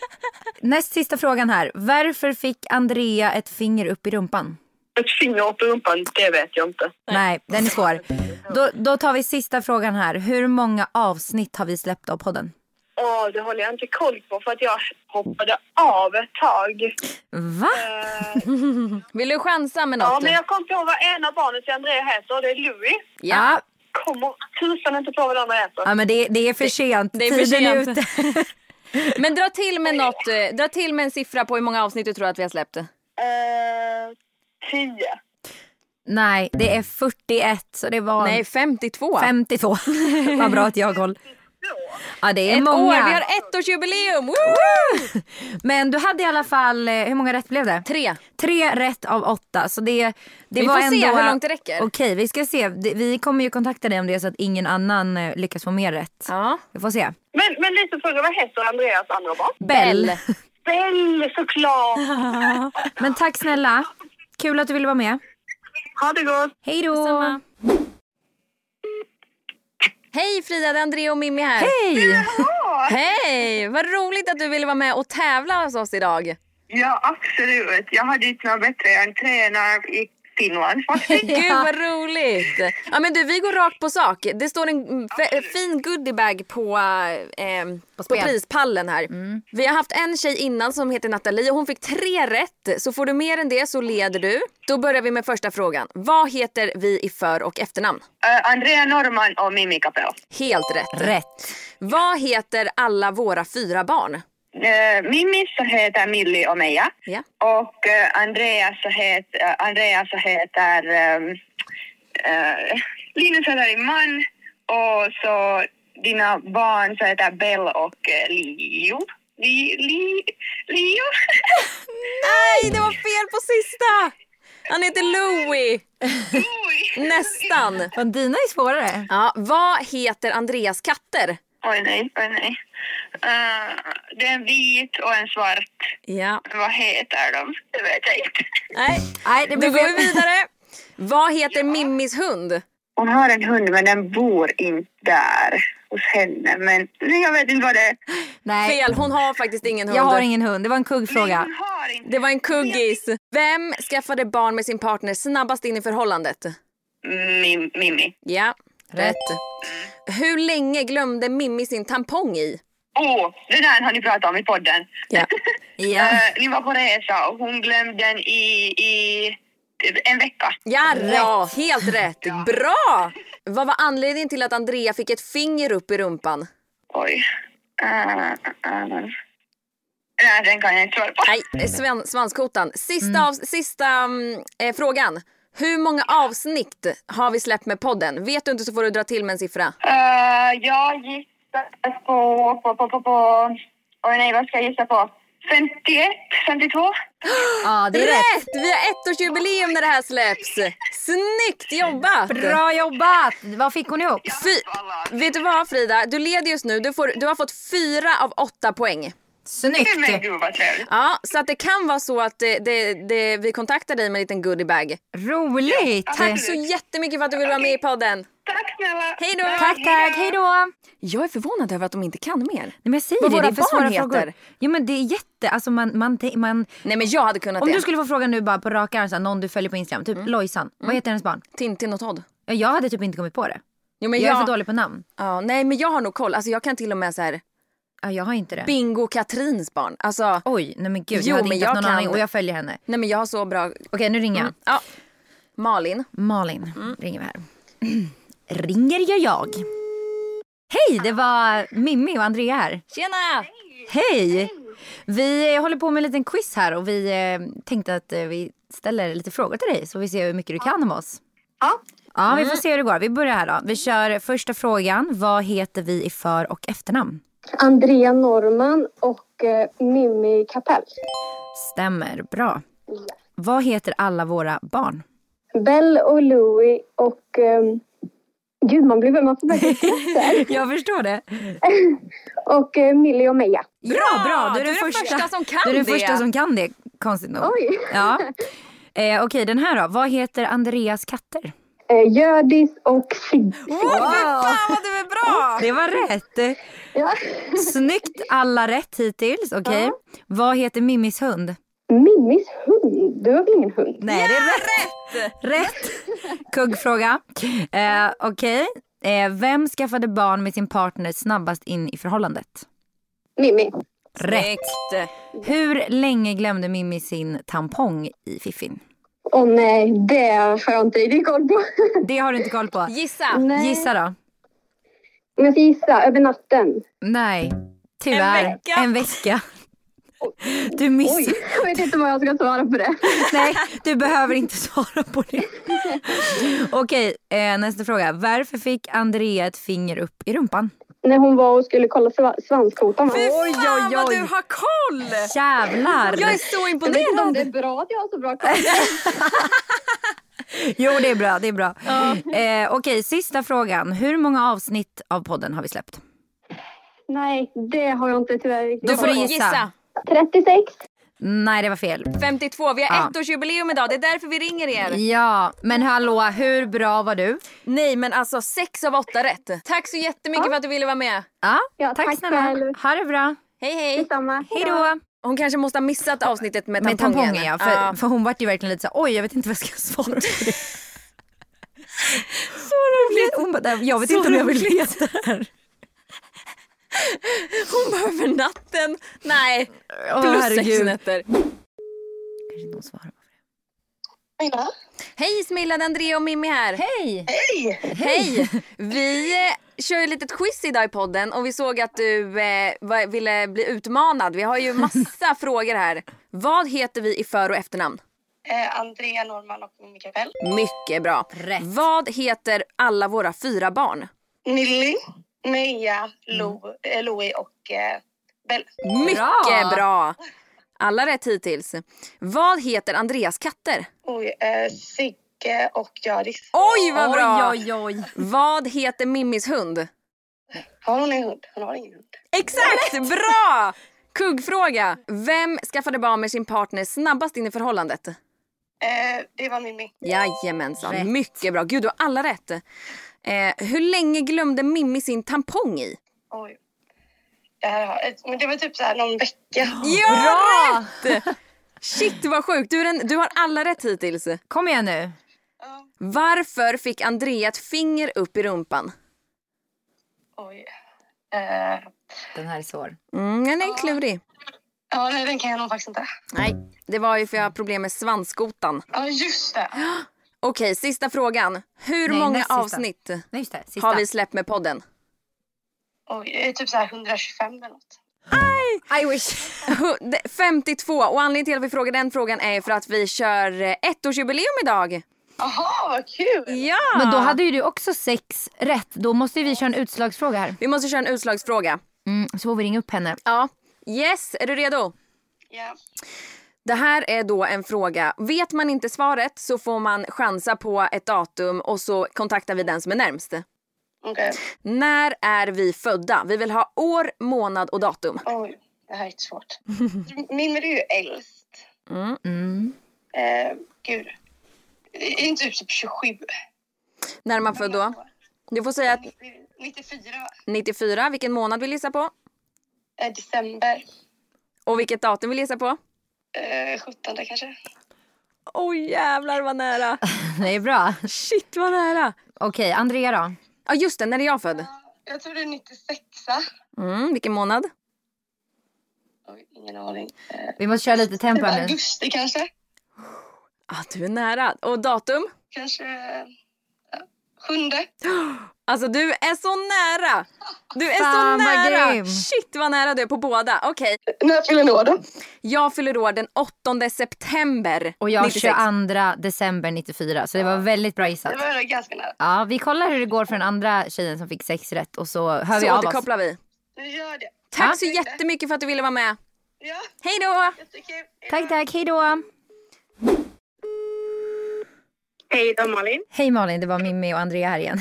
Speaker 1: Näst sista frågan här. Varför fick Andrea ett finger upp i rumpan?
Speaker 10: Ett finger upp i rumpan, det vet jag inte.
Speaker 1: Nej, den är svår. Då, då tar vi sista frågan här. Hur många avsnitt har vi släppt av podden?
Speaker 10: Åh, det håller jag inte koll på för att jag hoppade av ett tag.
Speaker 1: Va?
Speaker 10: Eh,
Speaker 2: Vill du chansa med
Speaker 10: ja,
Speaker 2: något?
Speaker 10: men jag kom på vad ena barnet till Andrea heter och det är Louis.
Speaker 1: Ja,
Speaker 10: Kommer tusan inte på vad den andra heter.
Speaker 1: ja men det, det är för sent.
Speaker 2: det är för
Speaker 1: Tiden är
Speaker 2: sent.
Speaker 1: ute.
Speaker 2: Men dra till med något. eh, Dra till med en siffra på hur många avsnitt du tror att vi har släppt.
Speaker 10: Eh, tio.
Speaker 1: Nej, det är 41, så det var...
Speaker 2: Nej, 52.
Speaker 1: 52. [LAUGHS] Vad bra att jag har koll. Ja, det är
Speaker 2: Ett
Speaker 1: många.
Speaker 2: år. Vi har ettårsjubileum! Woo!
Speaker 1: [LAUGHS] Men du hade i alla fall, eh, hur många rätt blev det?
Speaker 2: Tre.
Speaker 1: Tre rätt av åtta. Så det, det
Speaker 2: Vi
Speaker 1: var
Speaker 2: får se
Speaker 1: ändå...
Speaker 2: hur långt det räcker.
Speaker 1: Okej, vi ska se. Det- Vi kommer ju kontakta dig om det är så att ingen annan eh, lyckas få mer rätt.
Speaker 2: Ja.
Speaker 1: Vi får se.
Speaker 10: Men, men lite fråga, vad heter Andreas andra barn?
Speaker 1: Bell.
Speaker 10: Bell såklart!
Speaker 1: [LAUGHS] Men tack snälla. Kul att du ville vara med.
Speaker 10: Ha det gott!
Speaker 1: Hej då!
Speaker 2: Hej Frida, det är André och Mimmi här.
Speaker 1: Hej!
Speaker 2: Hej! Vad roligt att du ville vara med och tävla hos oss idag.
Speaker 10: Ja, absolut. Jag hade inte något bättre entré när jag gick till Finland faktiskt.
Speaker 2: Gud vad roligt! Ja men du vi går rakt på sak. Det står en mm, fe- fin goodiebag på, eh, på,
Speaker 1: spel. Mm.
Speaker 2: prispallen här. Vi har haft en tjej innan som heter Nathalie och hon fick tre rätt. Så får du mer än det så leder du. Då börjar vi med första frågan. Vad heter vi i för och efternamn?
Speaker 10: Eh, Andrea Norman och Mimmi Kapell.
Speaker 2: Helt rätt.
Speaker 1: Rätt.
Speaker 2: Vad heter alla våra fyra barn?
Speaker 10: Uh, Mimmi så heter Milli och Meja.
Speaker 2: Ja.
Speaker 10: Och eh, Andreas så heter, eh, Andreas så heter um, uh, Linus heter din man och så dina barn så heter Bell och uh, Leo. Li, li, Leo?
Speaker 2: Nej, det var fel på sista! Han heter Louie.
Speaker 10: Oj.
Speaker 2: Nästan.
Speaker 1: Men dina är svårare.
Speaker 2: Ja, vad heter Andreas katter?
Speaker 10: Oj nej, oj nej. Eh, det är en vit och en svart.
Speaker 2: Ja.
Speaker 10: Vad heter de? Det vet jag inte.
Speaker 2: Nej,
Speaker 1: Nej, det
Speaker 2: då
Speaker 1: blev
Speaker 2: går vi
Speaker 1: fel.
Speaker 2: vidare. Vad heter Mimmis hund?
Speaker 10: Hon har en hund men den bor inte där hos henne. Men nej, jag vet inte vad det är.
Speaker 1: Nej,
Speaker 2: Fel, hon har faktiskt ingen hund.
Speaker 1: jag har ingen hund. Det var en kuggfråga.
Speaker 10: Hon har inte.
Speaker 2: Det var en kuggis. Vem skaffade barn med sin partner snabbast in i förhållandet?
Speaker 10: Mim, Mimmi.
Speaker 2: Ja, rätt. Hur länge glömde Mimmi sin tampong i?
Speaker 10: Åh, oh, det där har ni pratat om i podden.
Speaker 2: Ja.
Speaker 1: [LAUGHS] Ja.
Speaker 10: Eh, ni var på resa och hon glömde den i, i en vecka.
Speaker 2: Ja, ja helt rätt. Bra! Vad var anledningen till att Andrea fick ett finger upp i rumpan?
Speaker 10: Oj. Uh, uh. Nej, den kan jag inte svara på.
Speaker 2: Nej, sven- svanskotan. Sista, av, sista mm, eh, frågan. Hur många avsnitt har vi släppt med podden? Vet du inte så får du dra till med en siffra.
Speaker 10: Eh, jag gissar på, på, på, på, på... Oj nej, vad ska jag gissa på? 51, 52.
Speaker 1: Ja, det är rätt.
Speaker 2: Rätt! Vi har ettårsjubileum när det här släpps. Snyggt jobbat!
Speaker 1: Bra jobbat! Vad fick hon ihop?
Speaker 2: Fy, vet du vad Frida? Du leder just nu. Du, får, du har fått fyra av åtta poäng.
Speaker 10: Men
Speaker 1: Snyggt!
Speaker 10: gud vad trevligt.
Speaker 2: Ja, så att det kan vara så att det, det, det, vi kontaktar dig med en liten goodiebag.
Speaker 1: Roligt!
Speaker 2: Tack så jättemycket för att du ville vara med i podden.
Speaker 10: Tack snälla.
Speaker 2: Hej då!
Speaker 1: Tack, tack. Hej då!
Speaker 2: Jag är förvånad över att de inte kan mer.
Speaker 1: Nej, men jag säger
Speaker 2: Vad
Speaker 1: det,
Speaker 2: våra
Speaker 1: det är för svåra
Speaker 2: barn
Speaker 1: frågor.
Speaker 2: heter.
Speaker 1: Jo, men det är jätte... Alltså man, man, te- man,
Speaker 2: Nej men jag hade kunnat
Speaker 1: om
Speaker 2: det.
Speaker 1: du skulle få frågan nu bara på rak arm, så här, någon du följer på Instagram,
Speaker 2: Mm.
Speaker 1: typ Lojsan, vad heter hennes barn?
Speaker 2: Tintin och Todd.
Speaker 1: Ja, Jag hade typ inte kommit på det.
Speaker 2: Jo, men
Speaker 1: jag är
Speaker 2: jag,
Speaker 1: för dålig på namn.
Speaker 2: ja, nej men jag har nog koll. Alltså, jag kan till och med så här,
Speaker 1: Ja, jag har inte det.
Speaker 2: Bingo Katrins barn. Alltså,
Speaker 1: Oj, nej men gud,
Speaker 2: Jo,
Speaker 1: jag hade
Speaker 2: men
Speaker 1: inte haft
Speaker 2: jag
Speaker 1: någon
Speaker 2: kan.
Speaker 1: aning och jag följer henne.
Speaker 2: nej men jag har så bra... Mm.
Speaker 1: Okej, nu ringer jag.
Speaker 2: Ja. Malin.
Speaker 1: Malin
Speaker 11: Mm.
Speaker 1: ringer vi här. [CLEARS THROAT] ringer jag jag? Hej, det var Mimmi och Andrea här.
Speaker 2: Tjena!
Speaker 1: Hej! Vi eh, håller på med en liten quiz här och vi eh, tänkte att eh, vi ställer lite frågor till dig så vi ser hur mycket du kan om oss.
Speaker 10: Ja.
Speaker 1: Ja,
Speaker 11: Mm.
Speaker 1: vi får se hur det går. Vi börjar här då. Vi kör första frågan. Vad heter vi i för och efternamn?
Speaker 11: Andrea Norman och eh, Mimmi Kapell.
Speaker 1: Stämmer bra. Vad heter alla våra barn?
Speaker 11: Bell och Louie och... ehm, gud, man, blir, man får
Speaker 1: [LAUGHS]
Speaker 11: verkligen skratta.
Speaker 1: Jag förstår det.
Speaker 11: och eh, Millie och Meja.
Speaker 1: Bra, bra! Du är, den,
Speaker 2: den
Speaker 1: första,
Speaker 2: första som kan
Speaker 1: Du är den
Speaker 2: det.
Speaker 1: första som kan det, konstigt nog.
Speaker 11: Oj!
Speaker 1: Ja.
Speaker 11: [LAUGHS]
Speaker 1: Eh, Okej, den här då. Vad heter Andreas katter?
Speaker 11: Eh, Hjördis och Sigge.
Speaker 2: Åh, fy fan vad du är bra!
Speaker 1: Det var rätt.
Speaker 11: Ja.
Speaker 1: Snyggt, alla rätt hittills. Okej. Vad heter Mimmis hund?
Speaker 11: Mimmis hund. Du har väl ingen hund?
Speaker 1: Nej, det är rätt. Rätt. Kuggfråga. Eh, Okej. Eh, vem skaffade barn med sin partner snabbast in i förhållandet?
Speaker 11: Mimmi.
Speaker 1: Rätt.
Speaker 2: Snyggt.
Speaker 1: Hur länge glömde Mimmi sin tampong i fiffin?
Speaker 11: Åh nej, det får jag inte riktigt koll på.
Speaker 1: Det har du inte koll på.
Speaker 2: Gissa.
Speaker 11: Nej.
Speaker 1: Gissa då.
Speaker 11: Om jag ska gissa, över natten.
Speaker 1: Nej, tyvärr.
Speaker 2: En vecka.
Speaker 1: En vecka. Du missade.
Speaker 11: Oj, jag vet inte vad jag ska svara på det.
Speaker 1: [LAUGHS] Nej, du behöver inte svara på
Speaker 11: [LAUGHS]
Speaker 1: det. Okej, eh, nästa fråga. Varför fick Andrea ett finger upp i rumpan?
Speaker 11: När hon var och skulle kolla sva- svanskotan. va?
Speaker 2: Fy
Speaker 1: Oj,
Speaker 2: fan
Speaker 1: oj,
Speaker 2: vad
Speaker 1: oj.
Speaker 2: du har koll!
Speaker 1: Jävlar!
Speaker 2: Jag är så
Speaker 11: Jag vet inte om
Speaker 2: imponerad.
Speaker 11: det är bra att jag har så
Speaker 1: [LAUGHS]
Speaker 11: bra koll.
Speaker 1: Jo, det är bra. Det är bra. Eh, Okej, sista frågan. Hur många avsnitt av podden har vi släppt?
Speaker 11: Nej, det har jag inte tyvärr riktigt
Speaker 1: Då får du
Speaker 11: koll på.
Speaker 1: gissa.
Speaker 11: 36.
Speaker 1: Nej, det var fel.
Speaker 2: 52, vi har
Speaker 1: Ja.
Speaker 2: ettårsjubileum idag. Det är därför vi ringer er.
Speaker 1: Ja, men hallå, hur bra var du?
Speaker 2: Nej men alltså sex av åtta rätt. Tack så jättemycket för att du ville vara med.
Speaker 1: Ja,
Speaker 11: Ja,
Speaker 1: tack
Speaker 11: tack
Speaker 1: snälla.
Speaker 11: själv.
Speaker 1: Ha det bra.
Speaker 2: Hej hej.
Speaker 11: Detsamma.
Speaker 1: Hej då.
Speaker 2: Hon kanske måste ha missat avsnittet med
Speaker 1: Med
Speaker 2: tampongen.
Speaker 1: tampongen ja, för, för hon vart ju verkligen lite så oj jag vet inte vad jag ska svara på det. så roligt. Hon bara, "Nej, jag vet
Speaker 2: [LAUGHS] Så
Speaker 1: inte om jag vill
Speaker 2: roligt."
Speaker 1: veta det här.
Speaker 2: [LAUGHS] Hon bara över natten. Nej.
Speaker 1: Åh,
Speaker 2: Plus sex
Speaker 1: herregud.
Speaker 2: nätter.
Speaker 1: Kanske någon svarar.
Speaker 2: Hej Smilla, det är Andrea och Mimmi här.
Speaker 1: [LAUGHS] Hej!
Speaker 2: Hej! Vi eh, kör ju ett litet quiz idag i podden och vi såg att du eh, var- ville bli utmanad. Vi
Speaker 1: [LAUGHS]
Speaker 2: har ju massa frågor här. Vad heter vi i för och efternamn?
Speaker 10: Eh, Andrea Norman och Mimmi Kapell.
Speaker 2: Mycket bra.
Speaker 1: Rätt.
Speaker 2: Vad heter alla våra fyra barn?
Speaker 10: Nilly, Meja, Lo, eh, Louie och eh, Bell.
Speaker 2: Mycket bra. Alla rätt hittills. Vad heter Andreas katter?
Speaker 10: Oj, eh, Sigge och Hjördis.
Speaker 2: Oj, vad bra!
Speaker 1: Oj, oj, oj.
Speaker 2: Vad heter Mimmis hund?
Speaker 10: Har hon en hund? Hon har ingen hund.
Speaker 2: Exakt! Bra! Kuggfråga. Vem skaffade barn med sin partner snabbast in i förhållandet?
Speaker 10: Eh, det var Mimmi.
Speaker 2: Jajamensan.
Speaker 1: Rätt.
Speaker 2: Mycket bra. Gud, du har alla rätt. Eh, hur länge glömde Mimmi sin tampong i?
Speaker 10: Oj. Det, här, har- eh, men det var typ så här någon vecka.
Speaker 2: Ja, rätt! Shit, vad sjukt. Du, är en, du har alla rätt hittills.
Speaker 1: Kom igen nu.
Speaker 2: Varför fick Andrea ett finger upp i rumpan?
Speaker 10: Oj. Eh,
Speaker 1: Den här är svår.
Speaker 2: Mm, den är klurig.
Speaker 10: ja, nej, den kan jag nog faktiskt inte.
Speaker 2: Nej, det var ju för jag har problem med svanskotan.
Speaker 10: Ja, just det.
Speaker 2: Okej, sista frågan. Hur
Speaker 1: Nej,
Speaker 2: många
Speaker 1: näst sista.
Speaker 2: avsnitt
Speaker 1: Nej just det, sista.
Speaker 2: har vi släppt med podden?
Speaker 10: Oj, eh, typ så här 125 eller något.
Speaker 1: I wish.
Speaker 2: Hu- [LAUGHS] det- 52. Och anledningen till att vi frågar den frågan är för att vi kör eh, ettårsjubileum idag.
Speaker 10: Jaha, vad kul!
Speaker 2: Ja!
Speaker 1: Men då hade ju du också sex rätt. Då måste ju vi köra en utslagsfråga här.
Speaker 2: Vi måste köra en utslagsfråga.
Speaker 1: Mm, så får vi ringa upp henne.
Speaker 2: Ja. Yes, är du redo?
Speaker 10: Ja.
Speaker 2: Det här är då en fråga. Vet man inte svaret så får man chansa på ett datum och så kontaktar vi den som är närmst.
Speaker 10: Okej.
Speaker 2: När är vi födda? Vi vill ha år, månad och datum.
Speaker 10: Oj, det här är inte [LAUGHS] svårt. Min är ju äldst.
Speaker 2: Mm.
Speaker 10: Eh, gud. Är inte du typ 27?
Speaker 2: När är man född då? Du får säga att
Speaker 10: 94?
Speaker 2: 94. Vilken månad vill du gissa på?
Speaker 10: Eh, december?
Speaker 2: Och vilket datum vill du gissa på?
Speaker 10: Eh, 17 kanske?
Speaker 2: Oj jävlar vad nära!
Speaker 1: [LAUGHS] Det är bra.
Speaker 2: Shit vad nära!
Speaker 1: Okej, Andrea då?
Speaker 2: Ja just det, när är jag född?
Speaker 10: Jag tror det är 96.
Speaker 2: Mm, vilken månad?
Speaker 10: Oj, ingen aning.
Speaker 1: Vi måste köra lite tempo här nu.
Speaker 10: Augusti kanske?
Speaker 2: Ah, du är nära. Och datum?
Speaker 10: Kanske... eh, Sjunde?
Speaker 2: Alltså du är så nära! Du är
Speaker 1: Fan,
Speaker 2: så
Speaker 1: vad
Speaker 2: nära!
Speaker 1: grym.
Speaker 2: Shit vad nära du är på båda. Okej,
Speaker 10: När fyller ni år då?
Speaker 2: jag fyller år den 8 september
Speaker 1: Och jag
Speaker 2: 96.
Speaker 1: 22 december 94, så det var väldigt bra gissat.
Speaker 10: Det var ganska nära.
Speaker 1: Ja, vi kollar hur det går för den andra tjejen som fick sex rätt och så hör vi
Speaker 2: Så
Speaker 1: av oss.
Speaker 2: återkopplar vi.
Speaker 10: Nu gör det.
Speaker 2: Tack så jättemycket för att du ville vara med.
Speaker 10: Ja,
Speaker 2: Hej då!
Speaker 10: jättekul.
Speaker 1: Tack, tack. Hej då.
Speaker 12: Hej, det är Malin.
Speaker 1: Hej Malin, det var Mimmi och Andrea här
Speaker 2: [LAUGHS]
Speaker 1: igen.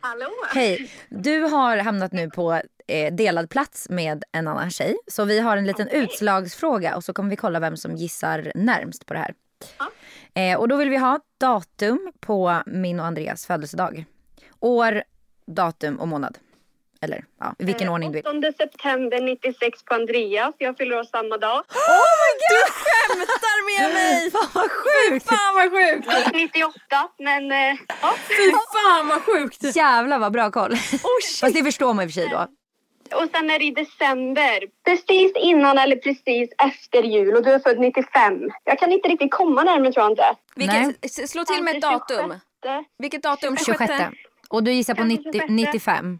Speaker 12: Hallå!
Speaker 1: Hej. Du har hamnat nu på eh, delad plats med en annan tjej. Så vi har en liten utslagsfråga och så kommer vi kolla vem som gissar närmst på det här. Eh, och då vill vi ha datum på min och Andreas födelsedag. År, datum och månad. Eller ja, i vilken
Speaker 12: Eh,
Speaker 1: ordning du vill.
Speaker 12: 8 september 96 på Andreas. Jag fyller år samma dag.
Speaker 2: Du skämtar med mig!
Speaker 1: Fan [GASPS] vad sjukt!
Speaker 2: Fan vad sjukt!
Speaker 12: Fast 98, men eh, ja.
Speaker 2: Fy fan vad sjukt!
Speaker 1: Typ Jävlar vad bra koll.
Speaker 2: shit.
Speaker 1: Fast det förstår man i och för sig då.
Speaker 12: Och sen är det i december. Precis innan eller precis efter jul och du är född 95. Jag kan inte riktigt komma närmare tror jag inte.
Speaker 1: Nej.
Speaker 2: Vilket, s- slå till med ett datum.
Speaker 12: Kanske
Speaker 2: Vilket datum?
Speaker 1: 26. Och du gissar på
Speaker 12: Kanske
Speaker 1: 90,
Speaker 12: 26.
Speaker 1: 95.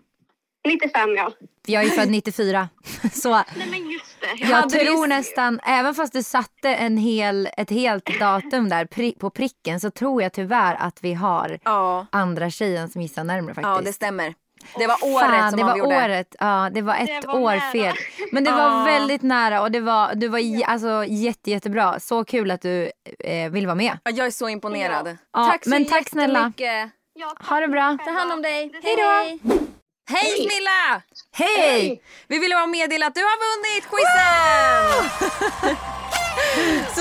Speaker 12: 95 ja.
Speaker 1: För jag är ju född 94. [LAUGHS] Så
Speaker 12: Nej men just det.
Speaker 1: jag
Speaker 2: hade
Speaker 1: tror
Speaker 2: det-
Speaker 1: nästan, även fast du satte en hel, ett helt datum där pri, på pricken så tror jag tyvärr att vi har
Speaker 2: Ja.
Speaker 1: andra tjejen som gissar närmare faktiskt.
Speaker 2: ja, det stämmer. Det var året
Speaker 1: Fan,
Speaker 2: som
Speaker 1: det var
Speaker 2: avgjorde.
Speaker 1: året. Ja, det var ett
Speaker 12: Det var
Speaker 1: år
Speaker 12: nära.
Speaker 1: fel. Men det
Speaker 2: Ja.
Speaker 1: var väldigt nära och det var, du var j- alltså, jätte, jättebra. Så kul att du eh, vill vara med.
Speaker 2: Ja, Jag är så imponerad.
Speaker 1: Ja,
Speaker 2: Tack så
Speaker 1: men tack snälla.
Speaker 2: jättemycket.
Speaker 12: Ja, tack
Speaker 1: Ha det bra.
Speaker 12: själva.
Speaker 2: Ta hand om dig.
Speaker 12: Detsamma.
Speaker 2: Hej då! Hej Smilla!
Speaker 1: Hej!
Speaker 2: Vi ville bara meddela att du har vunnit quizen! [LAUGHS] så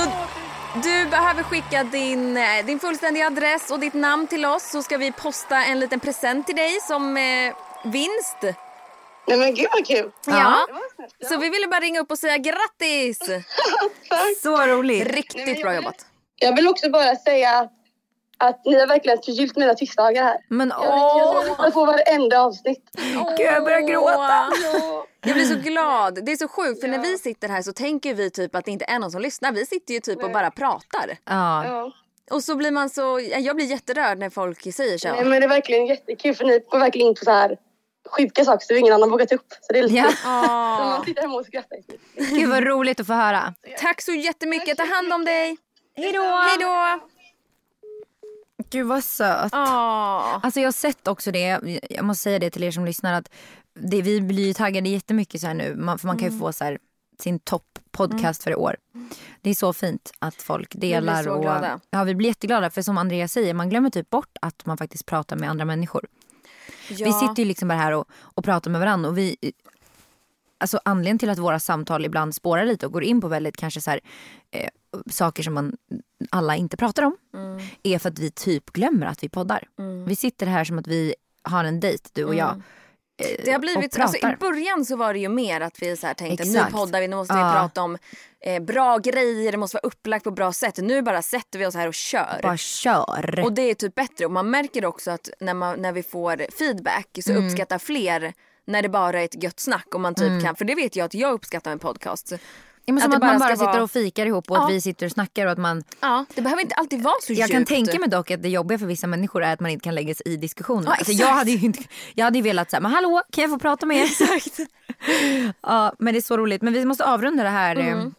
Speaker 2: du behöver skicka din, eh, din fullständiga adress och ditt namn till oss så ska vi posta en liten present till dig som eh, vinst.
Speaker 10: Nej men gud vad kul.
Speaker 2: Ja. Så vi ville bara ringa upp och säga grattis!
Speaker 10: Tack.
Speaker 1: Så roligt.
Speaker 2: Riktigt bra jobbat.
Speaker 10: Jag vill också bara säga att, att ni har verkligen förgyllt mina tisdagar här.
Speaker 1: Men
Speaker 10: Jag
Speaker 1: åh,
Speaker 10: lyssnar på varenda avsnitt.
Speaker 1: gud jag börjar gråta.
Speaker 2: Jag blir så glad. Det är så sjukt för när vi sitter här så tänker vi typ att det inte är någon som lyssnar. Vi sitter ju typ och bara pratar.
Speaker 1: Ja,
Speaker 10: Ja.
Speaker 2: Och så blir man så, jag blir jätterörd när folk säger så.
Speaker 10: Nej, men det är verkligen jättekul för ni går verkligen in på så här sjuka saker som ingen annan vågat upp. Så det är lite
Speaker 1: Ja.
Speaker 10: kul. Så
Speaker 2: Åh.
Speaker 10: man sitter hemma och skrattar.
Speaker 1: Gud vad roligt att få höra.
Speaker 2: Tack så jättemycket, ta hand om dig. Hej då! Hej då!
Speaker 1: Gud vad söt.
Speaker 2: Åh.
Speaker 1: Alltså jag har sett också det, jag måste säga det till er som lyssnar att det, vi blir ju taggade jättemycket så här nu man, för man kan
Speaker 2: Mm.
Speaker 1: ju få så här, sin topp-podcast för i år. Det är så fint att folk delar.
Speaker 2: så
Speaker 1: och,
Speaker 2: glada.
Speaker 1: Ja, vi blir jätteglada för som Andrea säger, man glömmer typ bort att man faktiskt pratar med andra människor.
Speaker 2: Ja.
Speaker 1: Vi sitter ju liksom bara här och, och pratar med varandra och vi eh, Alltså anledningen till att våra samtal ibland spårar lite och går in på väldigt kanske så här, eh, saker som man alla inte pratar om
Speaker 2: Mm.
Speaker 1: är för att vi typ glömmer att vi poddar. Vi sitter här som att vi har en dejt, du och jag. eh,
Speaker 2: Mm. Det har
Speaker 1: och
Speaker 2: blivit,
Speaker 1: pratar.
Speaker 2: alltså, I början så var det ju mer att vi så här tänkte
Speaker 1: Exakt.
Speaker 2: nu poddar vi, nu måste
Speaker 1: Ja.
Speaker 2: vi prata om eh, bra grejer, det måste vara upplagt på bra sätt. Nu bara sätter vi oss här och kör.
Speaker 1: Bara kör.
Speaker 2: Och det är typ bättre och man märker också att när, man, när vi får feedback så
Speaker 1: Mm.
Speaker 2: uppskattar fler när det bara är ett gött snack och man typ kan, för det vet jag att jag uppskattar med podcast.
Speaker 1: ja, men som
Speaker 2: det
Speaker 1: att, man bara
Speaker 2: ska
Speaker 1: sitter
Speaker 2: vara-
Speaker 1: och fikar ihop och
Speaker 2: Ja.
Speaker 1: att vi sitter och snackar och att man
Speaker 2: Ja, det behöver inte alltid vara så
Speaker 1: Jag
Speaker 2: djupt.
Speaker 1: kan tänka mig dock att det jobbiga för vissa människor är att man inte kan lägga sig i diskussionen.
Speaker 2: Ja,
Speaker 1: alltså,
Speaker 2: exakt.
Speaker 1: jag, hade ju inte, jag hade ju velat säga, men hallå kan jag få prata med er? Exakt. [LAUGHS] ja, men det är så roligt. Men vi måste avrunda det här eh, eh,
Speaker 2: Mm.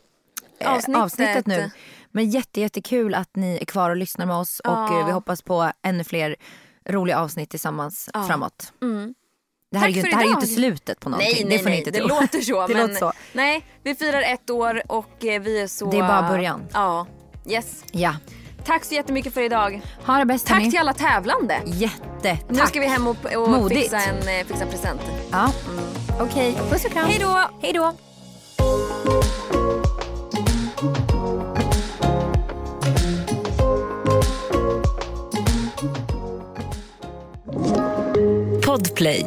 Speaker 2: Avsnittet.
Speaker 1: avsnittet nu. Men jätte, jättekul att ni är kvar och lyssnar med oss och
Speaker 2: Ja.
Speaker 1: eh, vi hoppas på ännu fler roliga avsnitt tillsammans framåt. Det här,
Speaker 2: Mm. Tack
Speaker 1: är ju,
Speaker 2: för
Speaker 1: det här är ju
Speaker 2: idag.
Speaker 1: inte slutet på någonting.
Speaker 2: Nej,
Speaker 1: det
Speaker 2: nej,
Speaker 1: får ni
Speaker 2: nej.
Speaker 1: inte
Speaker 2: det
Speaker 1: tro.
Speaker 2: låter
Speaker 1: [LAUGHS]
Speaker 2: så.
Speaker 1: det
Speaker 2: men
Speaker 1: låter så.
Speaker 2: Nej, vi firar ett år och eh, vi är så...
Speaker 1: Det är bara början.
Speaker 2: Ja. Yes.
Speaker 1: Ja.
Speaker 2: Tack så jättemycket för idag.
Speaker 1: Ha det bäst
Speaker 2: Tack
Speaker 1: hörni.
Speaker 2: till alla tävlande.
Speaker 1: Jättetack.
Speaker 2: Nu ska vi hem och, och
Speaker 1: Modigt.
Speaker 2: fixa en, eh, fixa en present.
Speaker 1: Ja.
Speaker 2: Mm.
Speaker 1: Okej, puss och kram.
Speaker 2: Hej då!
Speaker 1: Hej då.
Speaker 5: Podplay.